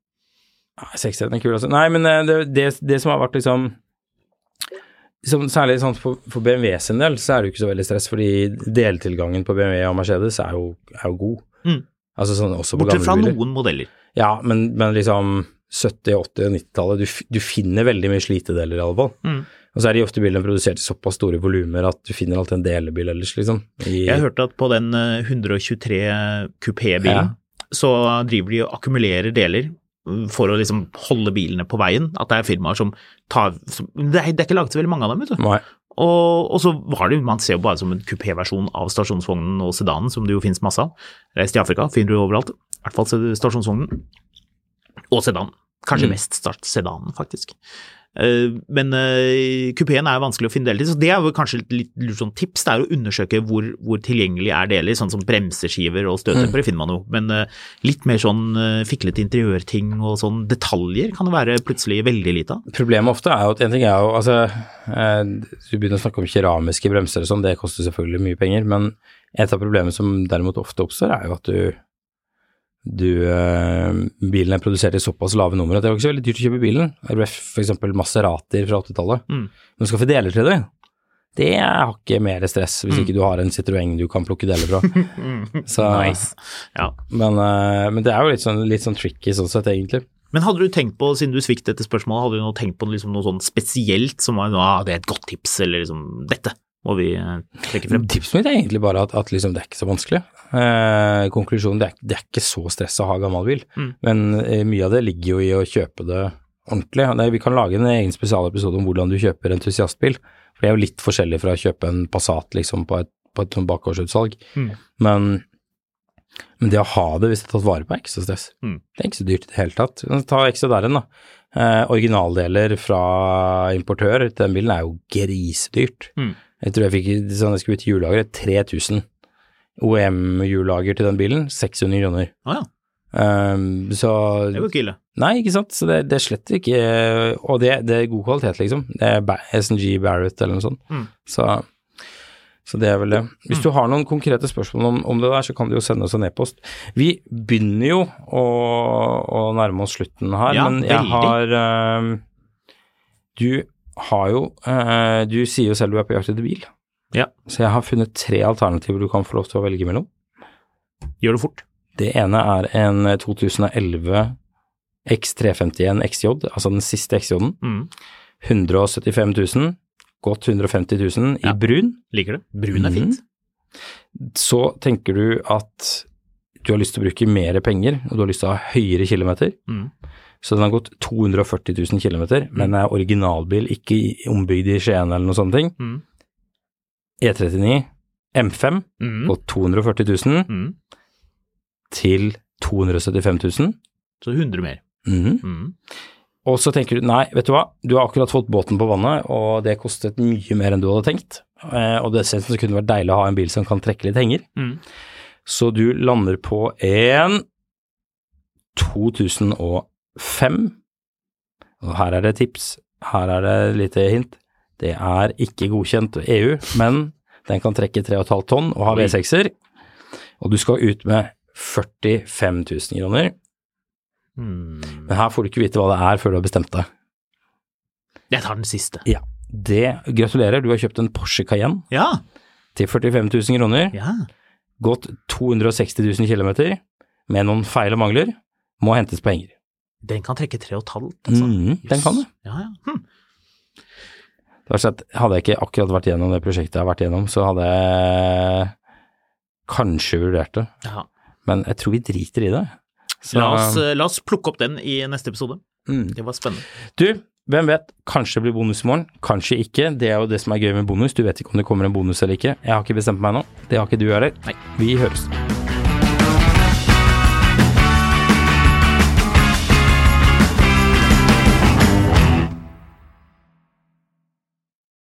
Speaker 2: Nei, 60 er kul, altså. Nei, men eh, det, det, det som har vært liksom som, Særlig sånn for, for BMW sin del, så er det jo ikke så veldig stress, fordi deltilgangen på BMW og Mercedes er jo, er jo god.
Speaker 3: Mm.
Speaker 2: Altså sånn også på
Speaker 3: Bortsett
Speaker 2: gamle
Speaker 3: fra
Speaker 2: biler.
Speaker 3: noen modeller.
Speaker 2: Ja, men, men liksom 70-, 80- og 90-tallet, du, f- du finner veldig mye slitedeler i alle fall.
Speaker 3: Mm.
Speaker 2: Og så er de ofte bilene produsert i såpass store volumer at du finner alltid en delebil ellers, liksom. I,
Speaker 3: Jeg hørte at på den eh, 123
Speaker 2: Ja.
Speaker 3: kupé-bilen, så driver de og akkumulerer deler mm, for å liksom holde bilene på veien. At det er firmaer som tar som, det, er, det er ikke laget så veldig mange av dem, vet du.
Speaker 2: Nei,
Speaker 3: Og, og så var det jo, man ser jo bare som en kupéversjon av stasjonsvognen og sedanen, som det jo finnes masse av. Reist i Afrika, finner du overalt. I hvert fall stasjonsvognen. Og sedanen. Kanskje
Speaker 2: Mm.
Speaker 3: mest start sedanen, faktisk. Eh, Men eh, kupeen er jo vanskelig å finne deler til, så det er jo kanskje et litt lurt sånn tips. Det er å undersøke hvor, hvor tilgjengelig er deler, sånn som bremseskiver og støtdempere finner man jo. Men eh, litt mer sånn eh, fiklete interiørting og sånn detaljer kan det være plutselig veldig lite av.
Speaker 2: problemet ofte er jo at en ting er jo, altså, eh, du begynner å snakke om keramiske bremser og sånn, det koster selvfølgelig mye penger, men et av problemene som derimot ofte oppstår er jo at du, du, eh, bilen er produsert i såpass lave numre at det var ikke så veldig dyrt å kjøpe bilen. Ref f.eks. Maseratier fra 80-tallet.
Speaker 3: Mm.
Speaker 2: Men du skal få deler til det. Det har ikke mer stress hvis ikke du har en Citroën du kan plukke deler fra. Så,
Speaker 3: Ja.
Speaker 2: men, eh, men det er jo litt sånn, litt sånn tricky sånn sett, egentlig.
Speaker 3: Men hadde du tenkt på, siden du fikk dette spørsmålet, hadde du nå tenkt på liksom noe sånn spesielt som var ah, det er et godt tips, eller liksom dette må vi eh, trekke frem?
Speaker 2: Tipset mitt er egentlig bare at, at liksom det er ikke så vanskelig. Eh, konklusjonen det er, det er ikke så stress å ha gammel bil,
Speaker 3: Mm.
Speaker 2: men eh, mye av det ligger jo i å kjøpe det ordentlig. Nei, vi kan lage en egen spesialepisode om hvordan du kjøper entusiastbil, for det er jo litt forskjellig fra å kjøpe en Passat liksom, på et, på et sånt bakgårdsutsalg.
Speaker 3: Mm.
Speaker 2: Men, men det å ha det hvis det er tatt vare på, er ikke så stress.
Speaker 3: Mm.
Speaker 2: Det er ikke så dyrt i det hele tatt. Ta Exodaren, da. Eh, originaldeler fra importør til den bilen er jo grisedyrt.
Speaker 3: Mm.
Speaker 2: Jeg tror jeg fikk sånn jeg skulle ut i hjullager, 3000 OEM-hjullager til den bilen, 600 kroner.
Speaker 3: Å Ah, ja,
Speaker 2: Ehm,
Speaker 3: det var
Speaker 2: så
Speaker 3: ikke ille.
Speaker 2: Nei, ikke sant. Så det, det er slett ikke Og det, det er god kvalitet, liksom. Det er Ba- SNG Barrett eller noe sånt.
Speaker 3: Mm.
Speaker 2: Så, så det er vel det. Hvis du har noen konkrete spørsmål om, om det der, så kan du jo sende oss en e-post. Vi begynner jo å, å nærme oss slutten her,
Speaker 3: Ja,
Speaker 2: men jeg
Speaker 3: veldig.
Speaker 2: har ehm, Du har jo eh, Du sier jo selv du er på jakt etter bil.
Speaker 3: Ja,
Speaker 2: Så jeg har funnet tre alternativer du kan få lov til å velge mellom.
Speaker 3: gjør det fort.
Speaker 2: Det ene er en 2011 X351 XJ, altså den siste XJ-en.
Speaker 3: Mm.
Speaker 2: 175 000, godt 150 000 i
Speaker 3: Ja.
Speaker 2: brun.
Speaker 3: Liker det. Brun er fint.
Speaker 2: Så tenker du at du har lyst til å bruke mer penger, og du har lyst til å ha høyere kilometer.
Speaker 3: Mm.
Speaker 2: Så den har gått 240 000 km, men er originalbil, ikke i- ombygd i Skien eller noe sånne ting. E
Speaker 3: Mm.
Speaker 2: E39 M5
Speaker 3: Mm.
Speaker 2: på 240 000
Speaker 3: Mm.
Speaker 2: til 275 000.
Speaker 3: Så 100 mer. Mm.
Speaker 2: Og så tenker du nei, vet du hva, du har akkurat fått båten på vannet, og det kostet mye mer enn du hadde tenkt. Eh, og dessuten så kunne det vært deilig å ha en bil som kan trekke litt henger.
Speaker 3: Mm.
Speaker 2: Så du lander på en 2005. Og her er det tips, her er det et lite hint. Det er ikke godkjent EU, men den kan trekke 3,5 tonn og ha
Speaker 3: Oi.
Speaker 2: V6-er. Og du skal ut med 45 000 kroner.
Speaker 3: Mm.
Speaker 2: Men her får du ikke vite hva det er før du har bestemt deg.
Speaker 3: Jeg tar den siste.
Speaker 2: Ja, det gratulerer. Du har kjøpt en Porsche Cayenne
Speaker 3: Ja.
Speaker 2: til 45 000 kroner,
Speaker 3: ja.
Speaker 2: gått 260 000 km med noen feil og mangler, må hentes på henger.
Speaker 3: Den kan trekke 3,5. Altså.
Speaker 2: Mhm, den
Speaker 3: Jøss.
Speaker 2: kan du.
Speaker 3: Ja, ja. Hm.
Speaker 2: Det var slett, hadde jeg ikke akkurat vært gjennom det prosjektet jeg har vært gjennom, så hadde jeg kanskje vurdert det,
Speaker 3: ja.
Speaker 2: men jeg tror vi driter i det. Så-
Speaker 3: La, oss, eh, la oss plukke opp den i neste episode.
Speaker 2: Mm.
Speaker 3: Det var spennende.
Speaker 2: Du, hvem vet, kanskje det blir bonus i morgen, kanskje ikke. Det er jo det som er gøy med bonus, du vet ikke om det kommer en bonus eller ikke. Jeg har ikke bestemt meg nå, det har ikke du heller.
Speaker 3: Nei.
Speaker 2: Vi høres.